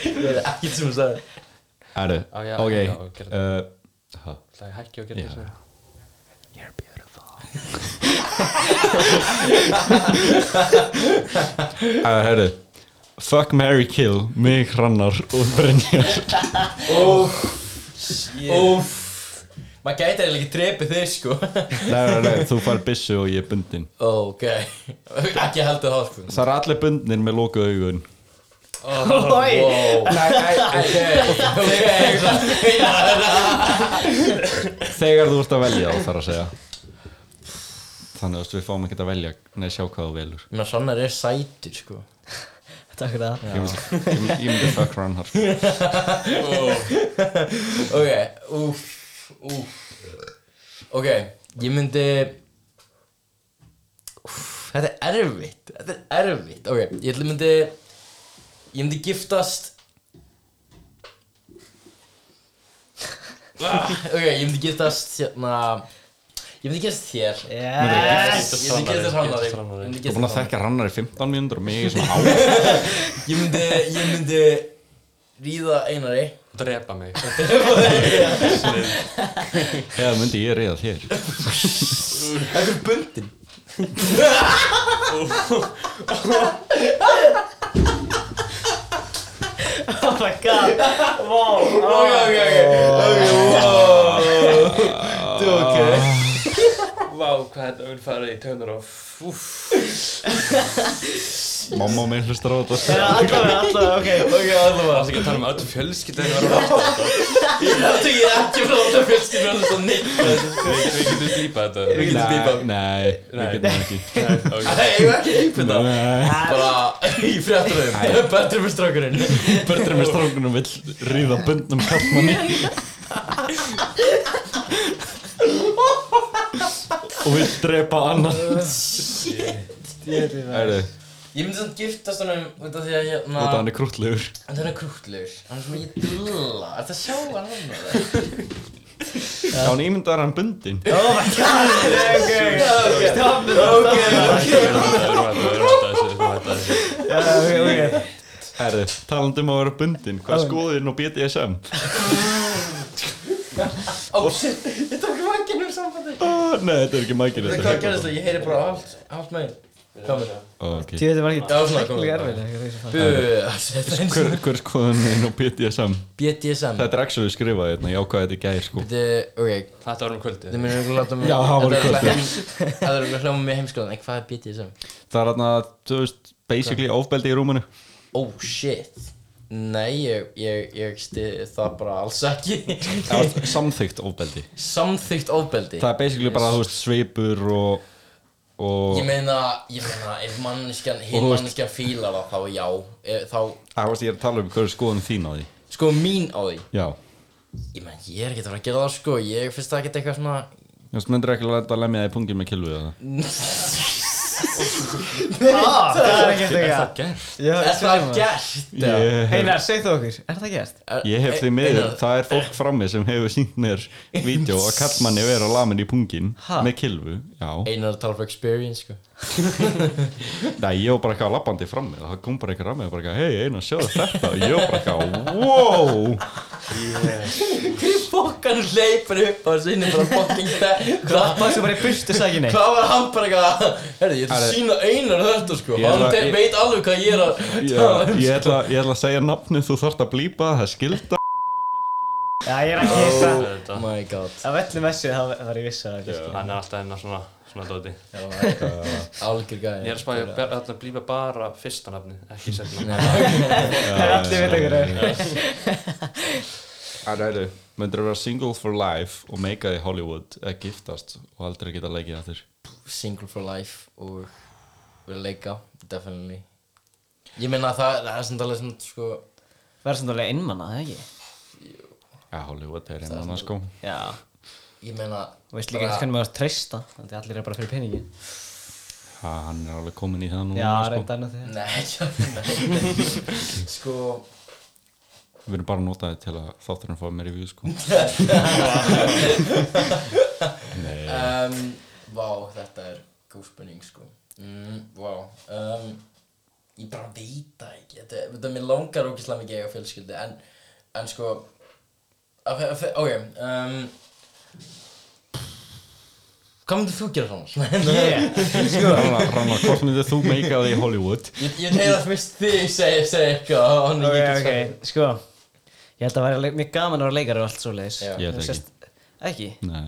ég er ekkert sem að segja erðu, Á, já, ok já, og gerðu uh, ha, Það er hækki og gera Já. þessu uh, Herðu Fuck, marry, kill, mig hrannar og Brynjar óf óf maður gæti eiginlega ekki drepið þig sko Nei, nei, nei, þú fær byssu og ég er bundin ok ekki heldur það sko Það er allir bundin með lokuð augun Oh, Oi! Nei, Þegar þú ert að velja þá þarf að segja Þannig að við fáum ekki að velja Nei, sjá hvað þú velur Mér sannar er sætur sko Takk fyrir það Ég myndi- Ég myndi- ég myndi fuck Rannar Ok, úf, úf Ok, ég myndi úf, Þetta er erfitt Þetta er erfitt Ok, ég ætla- myndi Ég myndi giftast Ah, Ok, ég myndi giftast hérna Ég myndi giftast þér Yes! Ég myndi giftast Giftast Hrannari Hrannari. Ég myndi Þú er giftast búin að Hrannari þekka Rannar í 15 mínútur og mig í svona hálf Ég myndi, ég myndi Ríða Einari Drepa mig Eða myndi ég reyða þér Þetta er bundin Oh my god Wow Ok, ok, Oh. ok Ok, wow Þú, ok Vá, hvað þetta vil fara í tönur og Úf Mamma og minn hlustar á þetta Allavega, allavega, ok Ok, allavega Það er ekki að tala um öll fjölskyldu Það var Ég hætti ég ekki frá þetta fjölskyldur og þetta neitt Við við getum lípa þetta Við getum bípa Nei, við Nei. getum ekki Nei, ég var ekki lípið það Nei, Bara í fréttröðum Bættur með strákurinn Börnir með strákunum vill ríða bundnum kallmanni Og vill drepa annan Æru, Ég myndi samt giftast honum út af því að út hérna af hann er krútlegur En það er krúttlegur Hann er svo mikið dulla Er það sjá hann hann Já, hann ímyndaður hann bundin Oh my god Ok, ok Stoppu það Ok, ok Ok, ok Herri, talandi um að vera bundin, hvað skoðið þín á BDSM? Ó, shit Ég tók vakkinn úr sambandi Ah, nei, þetta er ekki mækir Veitu hvað gerðist það? Ég heyri bara allt Allt með Komur Okay. Tjóðið var ekki Já, svona, komum Ekki við. erfið Ekki reysa fann Bú Hver, hver skoðið þín á BDSM? BDSM Þetta er actually skrifað hérna, ég ákvaði þetta í gær sko Þetta, ok Þetta var um kvöldið Þið myndir að láta mig Já, það voru Þetta er kvöldið. hljóma- Það er að hljóma mjög heimskoðan En hvað er BDSM? Það er hérna, þú veist, basically ofbeldi í rúminu Oh shit Nei, ég, ég, ég stiði það bara alls ekki Það var samþygt ofbeldi Samþykkt ofbeldi Það er basically bara, þú veist, svipur og og Ég meina, ég meina Ef manneskjan, Og hinn þú veist- manneskjan fílar það Þá já, e, þá Það varst ég er að tala um hverju skoðun þín á því Sko mín á því Já Ég meina, ég er ekkert að fara að gera það sko Ég finnst það ekkert eitthvað svona Þú veist, myndir ekki að leta að lemja það í pungin með kilvið það Það er ekki þetta Er það ekki gert? Já, Er það sjáum það. gert? Ég hef, Einar, segð þú okkur Er það gert? Er- ég hef því e- miður, Einar, það er fólk frammi sem hefur sínt mér vídeo að kallmanni vera lamin í pungin Ha? með kilvu Já Einar er að tala um experience sko Nei, ég var bara eitthvað labbandi frammi og það kom bara eitthvað rammi og bara eitthvað Hei, einu, sjáðu þetta Og ég var bara eitthvað, wow Fokkan hleypur upp á sinni Bara fokkin Klappa þessu bara í burtu sagði nei Hvað var hann bara eitthvað Herri, ég ætla Herri. að sína einar þetta sko Ég Hann ætla- te- ég- veit alveg hvað ég er að tala Ég, um ég, ætla, ég ætla að segja nafnið, þú þarft að blípa, það er skilda Já, ég er ekki hissa Oh my god Af öllum þessu þá var ég viss að það er gert. Hann er alltaf hérna svona Svona dóti Algjör Ég gæði er að spá ég að ber- þarna blífa bara fyrsta nafni Ekki setna Það er allir vita hverju að ræðu, myndir að vera single for life og meika í Hollywood eða giftast og aldrei geta leikið aftur single for life og verið að leika, definitely ég meina það, það er sem talað svona sko, Verður samt alveg einmanna, það ekki? Já, Hollywood er einmann annars sko Já. ég meina Og veist líka ekki hvernig maður treysta, þannig að allir er bara fyrir peningi. ha, Hann er alveg komin í það núna Já, sko. reynda annað þegar. nei, nei, nei sko Við erum bara að nota þetta til að þátturinn fá meiri view sko um, vá, þetta er góð spurning sko mm, vá um, ég bara veit það ekki þetta, þetta mér langar ógislega mikið að eiga fjölskyldu en, en sko af- af- ok um, hvað myndir þú gera svona? Ranna, Ranna, hvort myndir þú meika það í Hollywood? Ég, ég reyna að fyrst þig segja segja eitthvað og hann Ok, ég get ok, sagt- sko. Ég held að það væri alveg- mjög gaman að vera leikari og allt svoleiðis. Já. Ég held Þú ekki. sést- Ekki? Nei,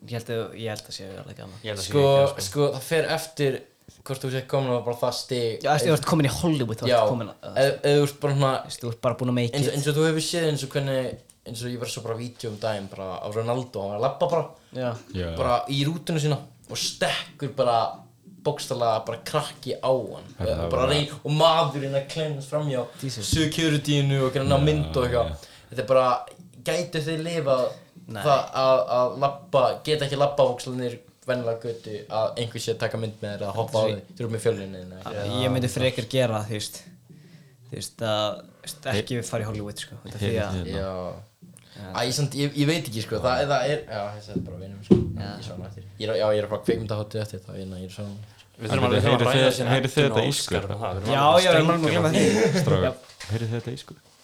Ég held að, ég held að séu alveg gaman. Ég held að Sko, sé ekki, sko, það fer eftir hvort þú sér komin og bara það stig Já, eftir þú ert komin í Hollywood, þú Já, ert komin að... eð- eða þú ert bara svona Þú veist, þú ert bara búin að make eins, it. eins og þú hefur séð eins og hvernig eins og ég var svo bara vídeo um daginn bara á Ronaldo, hann var að labba bara Já. Já. bara í rútinu sína og stekkur bara bókstallega bara krakki á hann Herra, Eða það bara var- reyn og maðurinn að klennast framhjá Jesus. securityinu og grann að mynd og eitthvað þetta er bara, gætu þið lifa Nei. það að, að labba geta ekki labba bókstallinir vennilega götu að einhver sé að taka mynd með þér eða hoppa á þig, þú eru með fjölunni Ég myndi frekar gera, þú veist, þú veist, að, þú veist, ekki fara í Hollywood, sko. Þetta því að, já Æ, ég, samt, ég, ég veit ekki sko, það, það er, já, þessi er bara vinum sko, ég sá hann eftir. Ég er, já, ég er bara kveikmyndaháttu eftir það, ég, ég er svona. Við þurfum En alveg heyrið að þið- ræða síðan heyrið þið Eddu þetta og í Óskar skröp? og það, við já, já, erum alveg ég að var málum að glemma því. Stráður, heyrið þetta í sko? Já,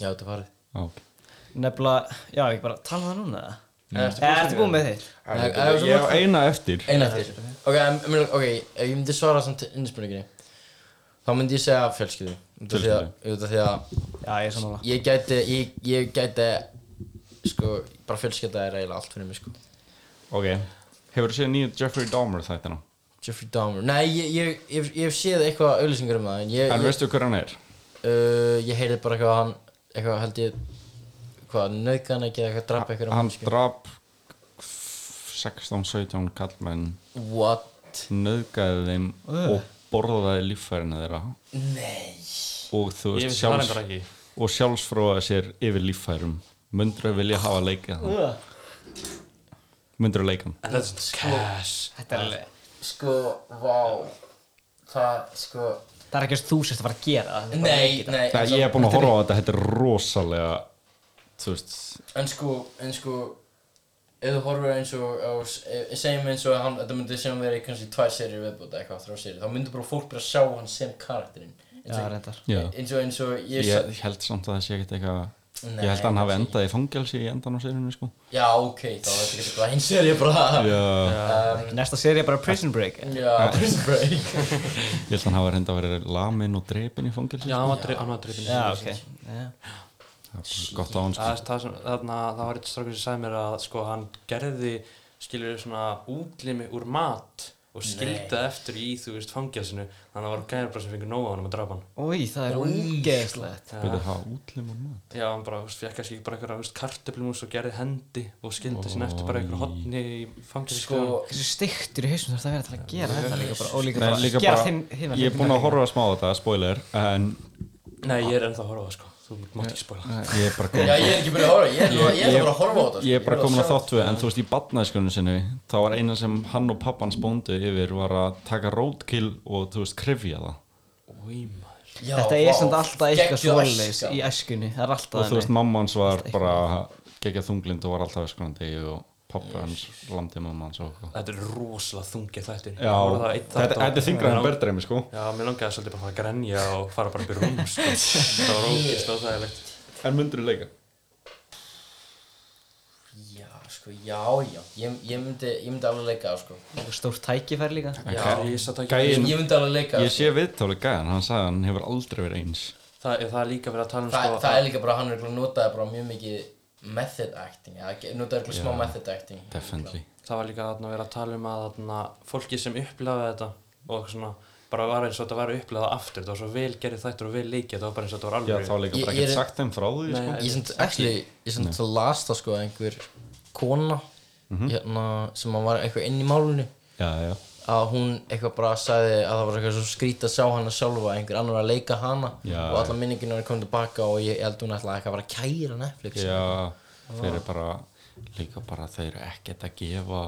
þetta er farið. Á, ok Nefnilega, já, ég bara tala um það núna eða? Mm. Ertu Eða ertu búinn með þig? Nei, það Ég er ég á svona- eina eftir Einn eftir. Ok, em- em- ok, ef ég myndi svara samt innspurninginni, þá myndi ég segja fjölskyldu. Út af því að, út af því að Já, ég er samanlega. ég gæti, ég, ég gæti, sko, bara fjölskylda er eiginlega allt fyrir mig sko. Ok, hefur þú séð nýju Jeffrey Dahmer þættina? Jeffrey Dahmer, nei, ég, ég, ég, ég hef séð eitthvað auðlýsingar um það, en ég, En ég, veistu hver hann er? uh, ég heyrði bara eitthvað að hann, eitthvað held ég, hvað, nauðgan ekki eða eitthvað drapa eitthvað Hann drap 16-17 kallmenn What? nöðgæði þeim og borðaði líffærinu þeirra Nei og þú Ég veist vissi það sjálfs reyndar ekki. og sjálfsfróaði sér yfir líffærum myndur að vilja hafa leikið hann myndur að leika hann That's cash Þetta er alveg, Sko, vá Það, sko það er ekki að þú sérst að fara að gera það. þetta er bara Nei, leikið það. nei en Það ég er samt- búin að horfa á þetta, þetta er rosalega þú veist En sko, en sko Ef þú horfir eins og á, e- Segjum eins og að hann, þetta myndi sem verið kannski tvær serið viðbúta eitthvað, þrjá serið Þá myndi bara fólk bara sjá hann sem karakterinn Eins Já, og- reyndar. Já. Eins og, eins og ég, ég held samt að það sé ekkert eitthvað Nei, ég held að hann hafi kannski endað í fangelsi í endan á sérinu sko Já, ok, þá er þetta ekki bara einn serið bara Já, um, Næsta séri er bara Prison Break. eða? Já, prison break ég held að hann hafi reynda að vera lamin og drepin í fangelsi Já, hann var drif- hann var drifin Já, ok. Já. Það er bara gott á hann sko Það er það sem, þarna, það var eitt strákur sem sagði mér að sko hann gerði, skilur svona útlimi úr mat og skildi eftir í, þú veist, fangjarsinu þannig að það var gæður bara sem fengur nóg á hann að drapa hann Úi, það er ógeðslegt. Byrðu að hafa útlim og maður Já, hann bara, þú veist, fekk kannski bara eitthvað, þú veist, kartöflumús og gerði hendi og skildi oh. sinna eftir bara eitthvað hotni í fangjarsinu Sko, Hversu stygtur í hausnum þarf það að vera til að gera þetta líka bara, og líka Nei, bara líka gera bara- þinn hinn Ég er búin að horfa smá á þetta, spoiler En Nei, Ah. ég er ennþá að horfa á það, sko, þú mátt ekki spóla ég er bara Já, komin ég er ekki byrjað að horfa, ég er, ég, er bara að horfa á þetta sko. Ég er bara komin að sjá- þáttu En þú veist, í badnæskunum sinni þá var eina sem hann og pappan spóndu yfir Var að taka roadkill og þú veist, krifja það Új, maður Já, Þetta er vá, samt alltaf eitthvað geggjuð sko. svoleiðis æska. í æskunni, það er alltaf Og þú veist, þannig. mamma hans var bara Gekja þunglind og var alltaf öskunandi Og pappa hans landi mamma hans og eitthvað. Þetta er rosalega þungið þættir Já, þetta þetta er þingra en berðreimi sko Já, mér langaði svolítið bara að fara að grenja og fara bara upp í rúm, sko Það var ógist og En myndur leika? Já, sko, já, já Ég, ég, myndi, ég myndi alveg leika, það, sko Þetta er stórt tækifær líka. þægilegt Gæinn- Ég myndi alveg leika, það, sko. Ég sé viðtáli gæðan, hann sagði að hann hefur aldrei verið eins Það, það er líka verið að tala um sko Þa, sko Það er líka bara, hann er ekki notaði bara mjög mikið method acting eða ge- Notaði ekki smá method acting Definitely það var líka þarna verið að tala um að þarna, fólki sem upplæði þetta og svona bara var eins og þetta var upplegað aftur þetta var svo vel gerðið þættur og vel leikið þetta var bara eins og þetta var Já, alveg þá er líka Ég- bara ég er- ekkert sagt þeim frá því Nei, sko. ég sem actually, ég sem það las það sko að einhver kona Mhm. hérna, sem að var eitthvað inn í málunni Já, já, að hún eitthvað bara sagði að það var eitthvað svo skrít að sjá hana sjálfa einhver annar var að leika hana Já, og alla minninginu er komið tilbaka og ég, ég held hún ætlaði eitthvað að vera að kæra Netflix já Þeir eru bara Líka bara þeir eru ekkert að gefa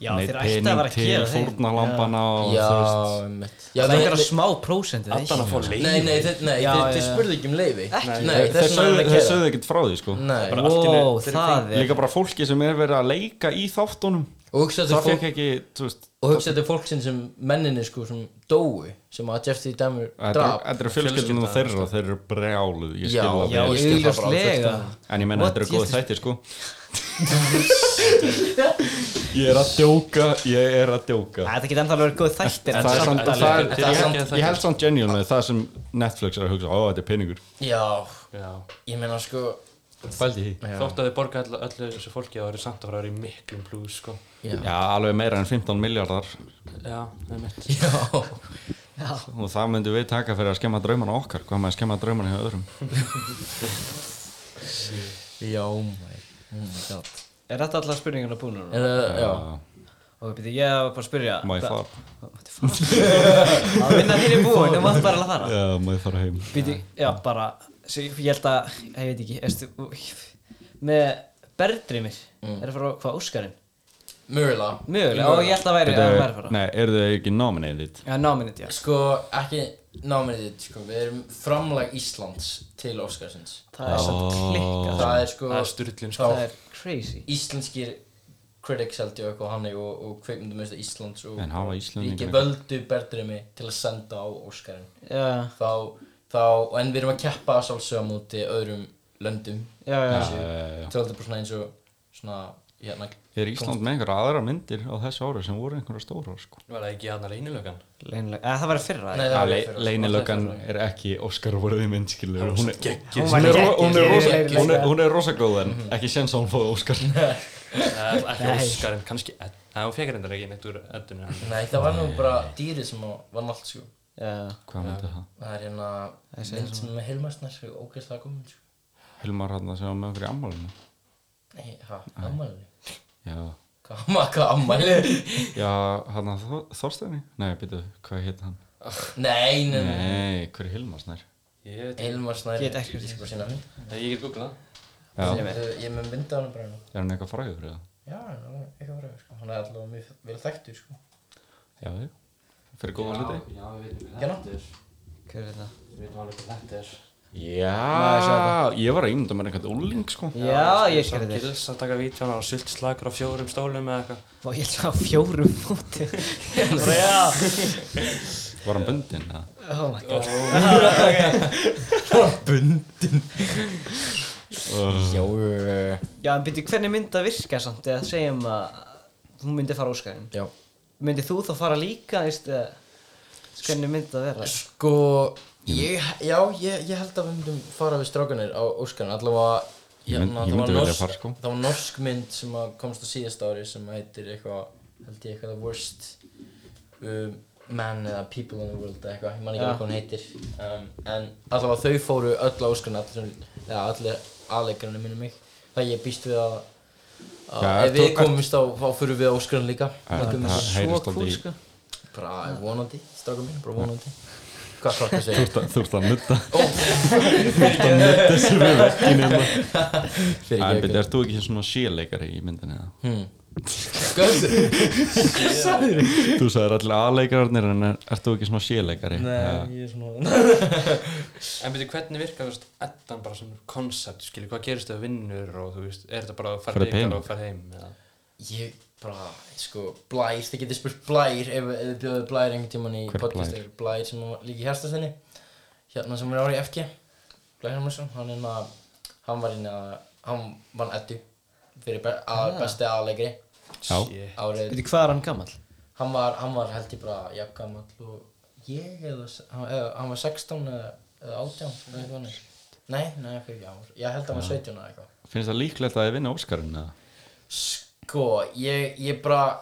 Já, neitt þeir ætti að vera að gera til fórnarlampana og já, þú veist mitt Já, það er einhverja nei, smá prósendi Allan að fá leið nei, nei, þeir, Já, nei, þeir, já, þeir já. spurðu ekki um leiði Ekki? nei, Þeir- Þeir þess vegna er sögðu- hann að þeir kæra sögðu ekkert frá því sko nei, Bara- allt í einu- Wow, þeir eru það er Líka bara fólki sem er verið að leika í þáttunum og hugsa Það þetta fólk fekk ekki, þú veist og hugsa þetta er fólk sem, sem menninni sko sem dói sem að Jeffrey Dahmer Þetta draf þetta eru fjölskyldunum Fjölskyldan, þeirra, þeir eru brjáluð Ég skil Já, það Já, Ég vel skil það bara augljóslega En ég menna What þetta eru góði Jesus- þættir sko Ég er að djóka, ég er að djóka Þetta geti ennþá verið góð þættir en Það er samt- samt, það er, Það er ég, samt- held, ég held samt genuine með það sem Netflix er að hugsa, ó þetta er peningur já, Já. ég meina sko Fældi því já, þótt að þið borga öllu, öllu þessu fólki þá eru samt að fara að vera í miklum plus sko. já, Já, alveg meira en 15 miljardar já, það er mitt já. og það myndum við taka fyrir að skemma draumana okkar hvað maður skemma draumana hjá öðrum Já, oh my, oh my god Er þetta allar spurninguna búin Er núna? það, uh, já Og ég byrja, ég var bara að spyrja Uh, Má ég það- fara? Að vinna þín er búin, þú mátt bara að fara Já, má ég fara heim Býti, já, bara svo Ég ég held að, ég veit ekki erstu, Með berðdreymir Er það frá hvað Óskarinn? Mögulega Mm. Mögulega, og ég held að væri að Bíddu, væri að fara Nei, eru þau ekki nominated? Já, náminnit, já Sko, ekki námið þitt, sko Við erum framlag Íslands til Óskarsins Það er samt klikkað Það er sko það er styrlun Já. sko. Það er crazy Íslenskir critics held ég og eitthvað hannig og, og kveikmyndumist Íslands og En hafa Íslendingar Ríki eitthvað? völdu berðurimi til að senda á Óskarinn Já, Þá, þá, en við erum að keppa sálsögum úti öðrum löndum já, já Já, já, já. Til alltaf bara svona eins og svona, hérna Uh, Er Ísland með einhverja aðra myndir á þessu ári sem voru einhverja stóra sko? var það ekki aðna reynilögan Leynileg, eða það var fyrra Nei, Nei, það var í Le fyrra, sko. Leynilöggan er ekki Óskar voruði mynd, skilur Hún Hún er Hún var er, geggjur. hún, er rosa, Leiðileg. hún, er, hún er rosa góð en ekki séns að hún fóði Óskar ekki Nei. Óskarinn, kannski Ed- Nei, hún fekk reyndar ekki neitt úr eddunni Nei, það var nú bara dýrið sem að vann allt, sko Hvað myndi það? Það er hérna mynd sem er með heilmarsnar og ógeðslega komin sko. Hilmar hann að segja með okkur í ammálinu Nei, hæ, ammæli Já, Hvað amma- hvað ammæli? Já hann að Þor- Þorsteini? Nei, býtu, hvað hétt hann? Nei, nei, nei Nei, hver er Hilmar snær? ég veit ekki, Heilmarsnar Get ekki- Ég skal bara sína mynd Nei, ég get googlað Já, Ég með- Ég með mynda hann bara nú er hann eitthvað fræður fyrir það? Já, hann er eitthvað fræður sko Hann er alltaf mjög vel þekktur sko Já, já Fyrir góða hluti? já, við veitum Hérna? hver er það? við veitum alveg hvað þetta er Já, ég var að ímynda mér einhvern úling sko Já, ég Samt gerði þér gils að taka vítjana og sult slagur á fjórum stólum eða eitthvað Vá, ég held að á fjórum fóti Bara, Já, Var hann bundinn? eða? oh my god Jó Já, en byrju, hvernig myndi það virka samt eða segjum að hún myndi fara á Óskarinn Já Myndi þú þá fara líka, veist eða, Hvernig myndi það vera? Sko, ég, já, ég, ég held að við myndum fara við strákanir á Óskarinn Allavega Ég mynd- hérna, það var ég myndi vilja norsk- fara, sko. Það var norsk mynd sem að komst á síðast ári sem heitir eitthvað, held ég eitthvað The Worst um, Man eða People in the World eða eitthvað, ég man ekki Já. alveg hvað hún heitir um, En allavega þau fóru öll á Óskarinn, allir, eða allir aðleikarinn minni mig Það ég býst við að, að Já, ef þú- við ert- komumst á, þá fyrir við á Óskarinn líka Já, Tökum það þessu- heyrist aldrei í- sko Bara vonandi, strákar mín, bara vonandi Hvað krakkar segir? Þú ert að- þú ert að nutta Þú ert að nutta þessu rökkinu Fyrir En ekki byrja, ert þú ekki svona síleikari í myndinni? eða? Gauð Þú sagðir allir aðleikararnir en er- ert þú ekki svona síleikari? Nei, ég er svona En veitu hvernig virkar þú veist Eddan bara sem koncept skilju hvað gerist þau vinnur og þú veist er þetta bara að fara Ferðu heim? ykkar og fara heim eða Ég bara, sko, blær Þið getið spurt blær Ef ef þið bjóðu blær einhvern tímann í Hver er podcast Blær? er Blær sem var líka í herstastenni Hérna sem er árið í FG Blær Hermansson, hann er hérna Hann var hérna, hann vann Eddu Fyrir be að besti aðleikri Já. Shit. Árið, Byrju, hvað er hann gamall? hann var, hann var held ég bara Jafngamall og ég eða, hann, eða, hann var 16 eða, eða 18 eða eitthvað þannig. Nei, nei, ekki, já, ég held að hann Ah. var 17 eða eitthvað Finnst það líklegt að þið vinna Óskarinn? eða? Sko, ég, ég bara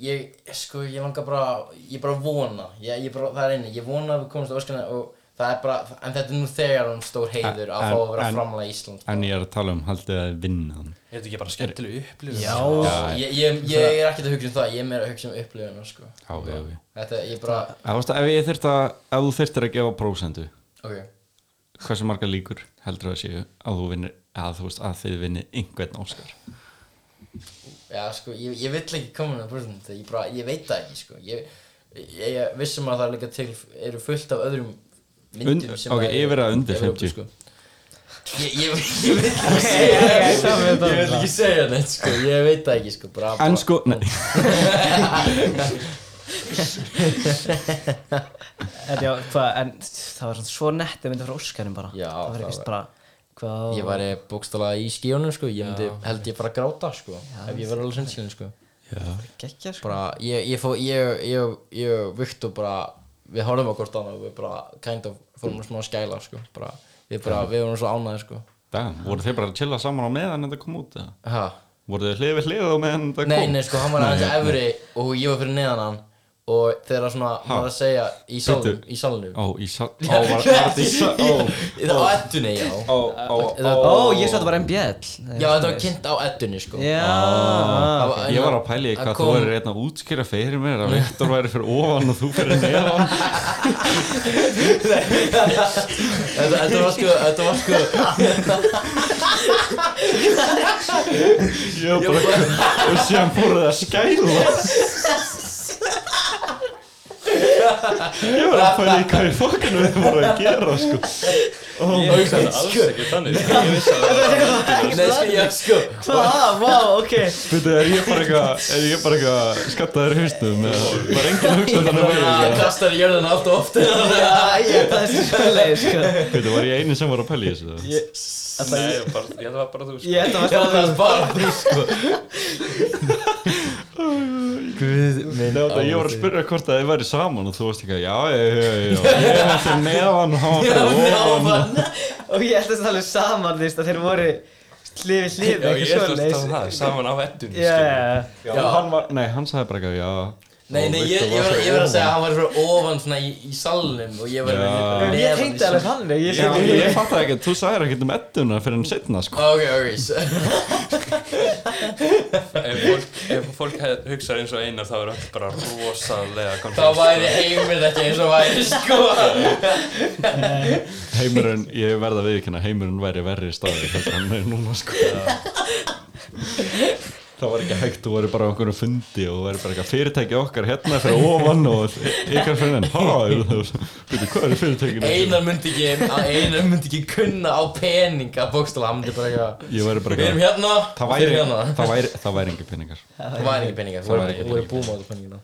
ég, sko, ég langar bara, ég bara vona, ég, ég bara, það er einu, ég vona að við komumst á Óskarna og það er bara, en þetta er nú þegar um stór heiður að En- fá að vera en- framlega í Ísland. En ég er að tala um haldið að vinna hann Er þetta ekki bara skemmtileg upplifun? Já, Já, ég, ég, ég er ekkert að hugsa um það, ég er meira að hugsa um upplifuna, sko. Já, já, já Þetta, ég bara, Það varst að ef ég þyrft að, ef þú þyrftir að gefa prósendu ok, Hversu marga líkur heldur það séu að þú vinnir, að þú veist að þið vinnir einhvern Óskar já, sko, ég, ég vill ekki koma með brúðum, ég bara, ég veit það ekki, sko. Ég, ég, ég vissum að það er líka til, eru fullt af öðrum myndum Und- sem ok, að- yfir að undir Evrópu, 50. sko. Ég, ég, ég veit ekki segja Ég vil ekki segja neitt sko, ég veit það ekki sko bara, En bara- sko, nei, En, já, hva, en það var svo nett að mynda frá Óskarinn bara Já, það var það ekkert var- bara hvað, Ég væri bókstala í skíunum sko, ég myndi held ég bara að gráta sko Ef ég verið alveg sinnskilin sko geggja sko Bara, ég, ég fó, ég, ég, ég, Viktor bara Við horfum á hvort annað og við bara kind of fórum smá að skæla sko bara, Við bara, við vorum svo ánæði sko damn, voru þið bara að chilla saman á meðan þetta kom út eða? Ha? Voru þið hlið við hlið á meðan þetta kom? Nei, nei sko, hann var aðeins efri og ég var fyrir neðan hann Og þegar svona, hann var að segja í salnum, Bíddu. í salnum Ó, í sal, ó, var, var þetta í sal, ó, Það á ettunni, já ó, ó, ó ó, ég svo að þetta var MBL Já, þetta var kynnt á ettunni sko já, Það Ég var að pæla í hérna, það hvað þú kom- verður einn að útskýra fyrir mér að Viktor væri fyrir ofan og þú fyrir neðan Þetta þetta var sko, þetta var sko Ég var bara, og síðan fóruð það að skæla Ég var að pæla í hvað í fokkanu þið voru að gera sko Ég vissi þetta alls sko- ekki þannig Ég vissi að það var Nei, sko, já, sko hvað, wow, ok Veitu, er ég bara eitthvað, er ég bara eitthvað skattaður í haustum eða var enginn að hugsa þannig um að Það vera kastar í jörðina allt og oft Æja, það er svo leið, sko Veitu, var ég eini sem var að pæla í þessu það? Nei, ég bara- ég held að það var bara þú sko. Ég held að Já, það það er bara þú sko Guð Nei, þetta, ég var að spyrja hvort að þið væri saman og þú varst ekki að já, já, já, já, já, ég var fyrir neðan og hann var fyrir ofan Og ég held að það alveg saman, þú veist, að þeir voru hlifi Já, hlifi, ég eitthvað held svo að leið það var um það Saman á ettunni Já, já, já. Já, og hann var, nei, hann sagði bara eitthvað, já Nei, nei, ég, ég, var, ég var að segja að hann var fyrir ofan svona í, í salnum og ég var Já. fyrir En Ég tengdi alveg þannig, ég Já, tengdi ég fatt ekki, þú sagðir ekkert um edduna fyrir en setna, sko Ok, ok, s- Ef fólk, ef fólk hef- hugsar eins og einar þá er öll bara rosalega þá konflikt væri heimil ekki eins og væri sko Heimurinn, ég verða að viðkynna, heimurinn væri verri staði heldur hann er núna, sko Það var ekki hægt, þú voru bara á einhverjum fundi og þú voru bara eitthvað fyrirtæki okkar hérna fyrir ofan og ykkar fyrir enn, hæ, veitu, hvað er fyrirtækinu? Einar myndi ekki, að Einar myndi ekki kunna á peninga bókstala, hann myndi bara ekki Ég væri bara Við erum hérna, Það þið væri, eruð hérna það væri, það væri engin peningar Það væri ekki peninga, Það þú væri ekki voru búma á þessu peningina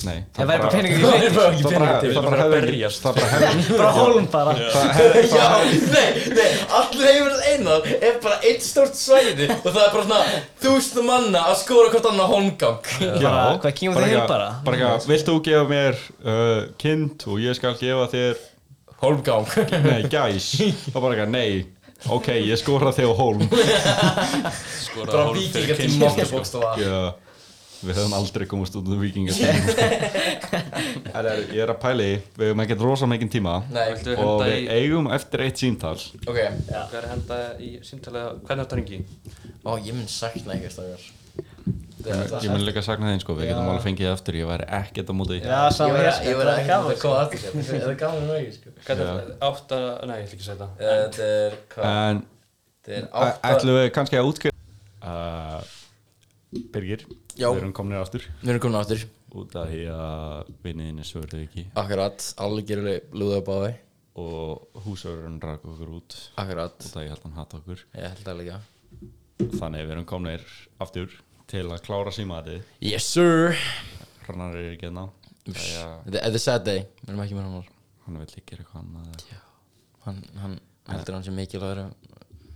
Nei, Það væri bara peningur Það í væri bara ekki Það bara, peninga til það bara bara hefði berjast. Það bara hefði leið, bara hólm bara Það hefði Já, nei, nei, allir heimurinn einar er bara eitt stórt svæði og það er bara svona þúsund manna að skóra hvort annað holmgang Bara, hvað, kýmum þið heim eitthvað- bara? Bara eitthvað, vilt þú gefa mér uh, kind og ég skal gefa þér Holmgang Nei, gæs Það bara eitthvað, nei, ok, ég skora þig á hólm Skora Bara hólf vikinga fyrir til kynnskir mokka sko. bókstofa Já, við höfum aldrei komast út um vikingar Það er, ég er að pæli, við höfum ekkert rosa mikinn tíma Nei, Viltu Og henda í við eigum eftir eitt síntal ok Hvað er að henda í símtalið Hvernig þetta ringi? Ó, ég mun sakna ykkur stakar Ég mun líka sakna þeim sko, við getum alveg fengið það aftur, ég væri ekkert á móti því. Já, Ég saman var ég sko, ég það var er ekki að gaman sko koma aftur hérna. Þetta er gaman með ekki, sko Hvernig átt að Nei, ég ætla ekki að segja það Þetta er, hvað, En þetta er Æ- átta ætlum við kannski að útskjöra uh, Birgir, Já. við erum komnir aftur Við erum komin aftur út af því að vinniðinni svörðu ekki Akkurat, algjörlega lúða upp á þau og húsörun rak okkur út Akkurat út af ég held hann hatt okkur Ég held það líka þannig við erum komnir aftur til að klára símaðið Yes sir Hrannar er ekki hérna. enná Þetta þetta er sad day Við erum ekki með hann hann vil ekki gera eitthvað annað hann, hann heldur hann sem mikilvægur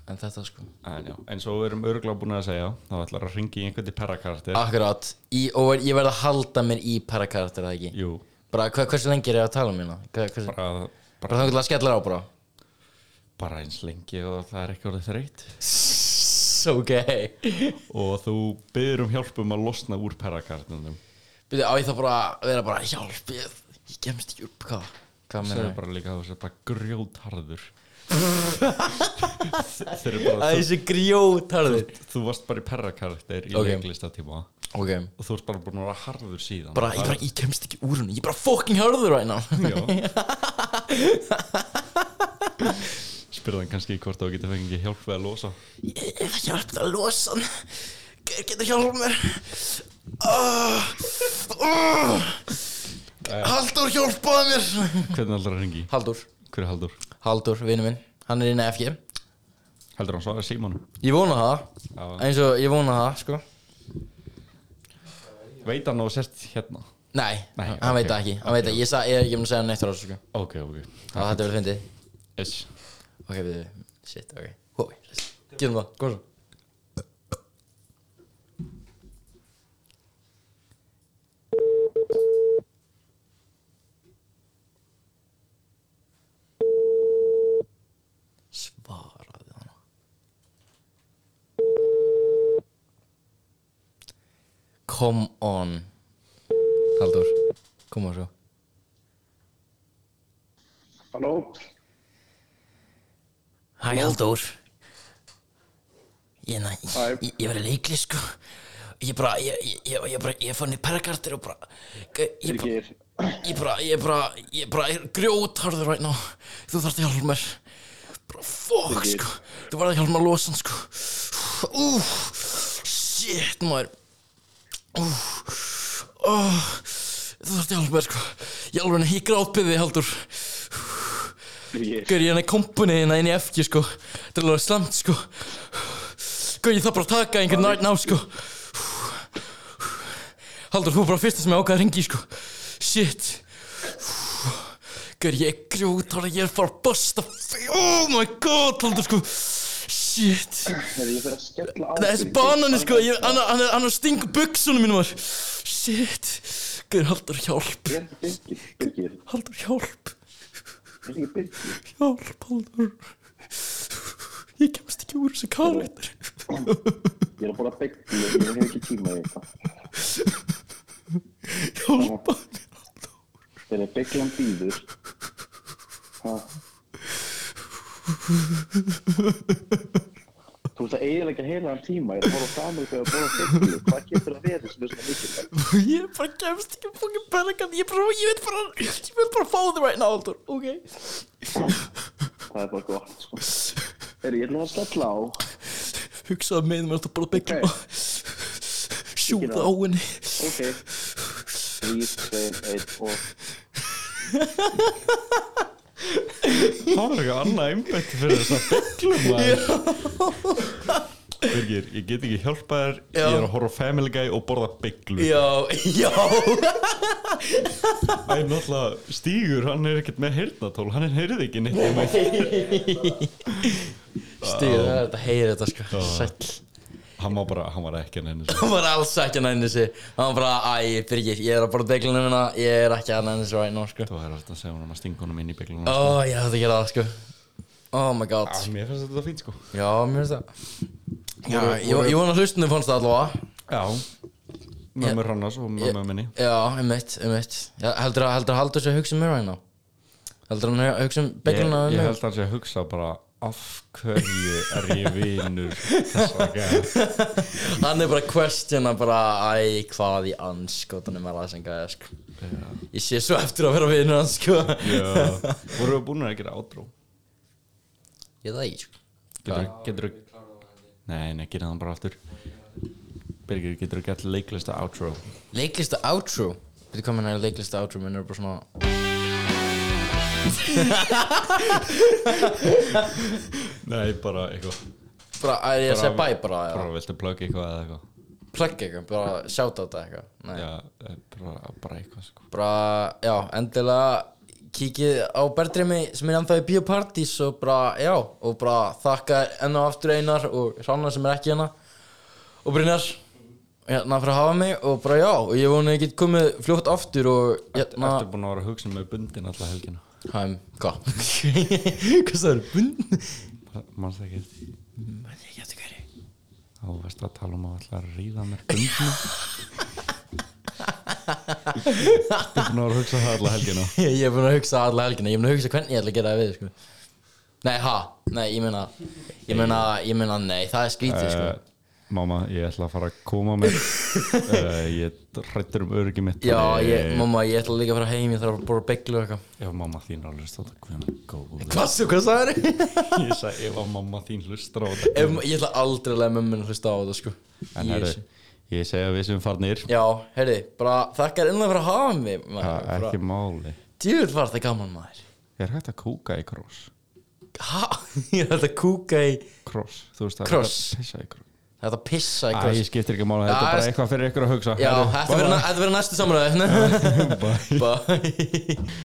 en þetta sko en já, eins og við erum örgulega búin að segja þá ætlar að ringi einhvern til perrakartir Akkurát, í, og ég verð að halda mér í parakarakter það ekki jú, Bara hva, hversu lengi er ég að tala um hérna? Hva, hversu, bara bara, bara, þannig til að skellar á bara bara eins lengi og það er ekki orðið þreytt it's okay og þú byrður um hjálpum að losna úr perrakarnunum Byrja, á ég þá bara að vera bara hjálp ég, ég kemst ekki upp hvað hvað það meina er ég? bara líka að þú sér bara grjótharður þeir eru bara að þú, þessi grjótarður þú varst bara í perrakarakter í Ok. okay. leiklistatíma ok og þú ert bara búin að vera harður síðan bara, ég, bara, ég kemst ekki úr henni ég er bara fucking harður right now Já Spyrðan kannski hvort þú getur fengið hjálp við að losa Ég- Ég það hjálpið að losa hann Hver getur hjálpað mér? Ah, ah, Halldór hjálpaði mér Hvernig aldrei hringi? Halldór Hver er Haldur? Halldór, vinnu minn Hann er inn að FG Heldur hann svaraði símanum? Ég vona það Já. Eins og ég vona það, sko Veit hann og sérst hérna? Nei, Nei, hann ok. veit það ekki Hann veit það, ég, sa, ég er ekki mun að segja hann neitt frá þessu, sko Ok, ok Það þetta verið fyndið Yes Ok, við Shit, ok Hói, gerum það, góð svo Svaraði hann Come on Haldur, koma svo Halló? Hæ Halldór Ég, na, Hæ. ég, ég, ég var í leikli sko Ég bara, ég, ég, ég, ég bara, ég fann í perrakartir og bara Ég bara, Birgir, ég bara, ég bara, ég bara er grjótharður right now Þú þarft að hjálpa mér Bara fuck Birgir. sko Þú varð að hjálpa mér að losa hann sko Ú, shit maður Ú, ó, þú þarft að hjálpa mér sko Ég alveg, ég grátbyði Haldur Birgir, Gauður, ég er hann í kompunni hérna inn í FG, sko. Þetta er alveg slamt, sko. Gauður, ég þarf bara að taka einhvern right now, sko. Haldur, þú er bara fyrsta sem ég ákvað að ringi, sko. Shit. Gauður, ég er grjótala, ég er bara að busta. Oh my god, Haldur, sko. Shit. er ég fyrir að skella á Það er þessi Birgir? banani, sko. Ég, hann, hann, er- hann er að stinga buksunum mínum, var. Shit. Gauður, Haldur, hjálp. Birgir, Birgir, Birgir, Haldur, hjálp. Birgir, Birgir, Hjálp, Haldur Ég kemst ekki úr þessu karakter ég er að búin að byggja, ég ég hef ekki tíma í þetta. Hjálpa Þegar byggjan býður, ha? Þú ert að eiginlega heila hann tíma, ég er að bóra framur þegar að bóra byggju, hvað getur að vera sem er svona mikilvægt? Ég bara kemst ekki fókin bergan Ég bara, ég veit bara Ég vil bara fá þig right now, Haldur Ok Það er bara gott, sko. Er ég ætla að skella á, Hugsaði með mér að bara byggja Ok. okay. Sjúða á henni ok, 3, 2, 1 og... Það var eitthvað annað einbætt fyrir þess að bygglu maður Birgir, ég get ekki hjálpa þér Já. Ég er að horfa á Family Guy og borða bygglu Já, já Það er náttúrulega stígur, hann er ekkert með heyrnatól Hann er heyrið ekki neitt um eitt Stíð, það er þetta heyri þetta sko Sæll Hann var bara, hann var ekki að henni Hann var alls ekki að næni sig Hann var bara, æ, Birgir, ég er að bara byggja henni Ég er ekki að næni sig right now, sko Þú er alltaf að segja honum að stinga honum inn í bygglunum Ó, ég hætti að gera það, sko Oh my god Ah, Mér finnst þetta fínt sko Já, mér finnst það Já, ég, ég vona hlustinu fannst það allavega Já Mömmu Hrannars og mömmu minni Já, um eitt, um eitt Heldur að, heldur að haldur sér að hugsa um mér hérna Heldur að hann hugsa um Ég, beigluna um ég mér held að sé að hugsa bara af hverju er ég vinur þessa gæja? Hann er bara að questiona bara Æ, hvað í anskotanum er það sem gæði sko. Ég sé svo eftir að vera vinur hans sko. Já Voru við búin að gera átrú? Ég það ekki sko. Getur, getur Nei, nei, gera það bara aftur Birgir, getur þú gett leiklista outro? Leiklista outro Veitu hvað menn er leiklista outro Menn er bara svona Nei, bara eitthvað bara, Æ, ég að segja bæ bara Bara já. viltu plugga eitthvað eða eitthvað Plugga eitthvað, bara sjáta þetta eitthvað Nei. Já, eh, bara, bara eitthvað sko bara, já, endilega kíkið á Bertrimi sem er ennþá í Bíopartís og bara, já, og bara þakka enn og aftur Einar og Hrannar sem er ekki hérna og Brynjar hérna fyrir að hafa mig og bara já, og ég vona ég get komið fljótt aftur og Ertu hérna, búin að vera að hugsa með bundin alla helgina? hæm, hvað? Hvað það er bund? Manst ekki eftir því? Ég get ekki verið Þá varst að tala um að ætla að ríða mér gungna Þú búin að vera að hugsa um það alla helgina ég er búin að hugsa alla helgina ég er búin að hugsa hvernig ég ætla að gera það við sko. nei, ha, nei, ég meina ég meina, ég meina, nei, það er skrítið sko. uh, Mamma, ég ætla að fara að koma mér uh, Ég hrættur um öryggi mitt já, ég, mamma, ég ætla líka að fara heim ég þarf að bóra bygglu og eitthvað Ef mamma þín er að hlusta á þetta Hvað er góð hvað, svo, hvað sagður Ég sagði ef að mamma þín hlustar á þetta ég ætla aldrei að lega mömmun hlusta á þetta sko. En herru, Ég- ég segja að við sem farnir já, heyrði, bara þakkar innan fyrir að hafa mig maður, Það er bara- ekki máli Djúvill var það gaman maður Er hægt að kúka í kross? Ha? Ég ætla að kúka í Kross, þú veist það er Kross. hægt að pissa í kross Þetta pissa í Æ, kross ég skiptir ekki máli, Já, þetta hérna- er bara ég- eitthvað fyrir ykkur að hugsa Já, þetta Herru, verður næ- þetta verður næstu samræði Bye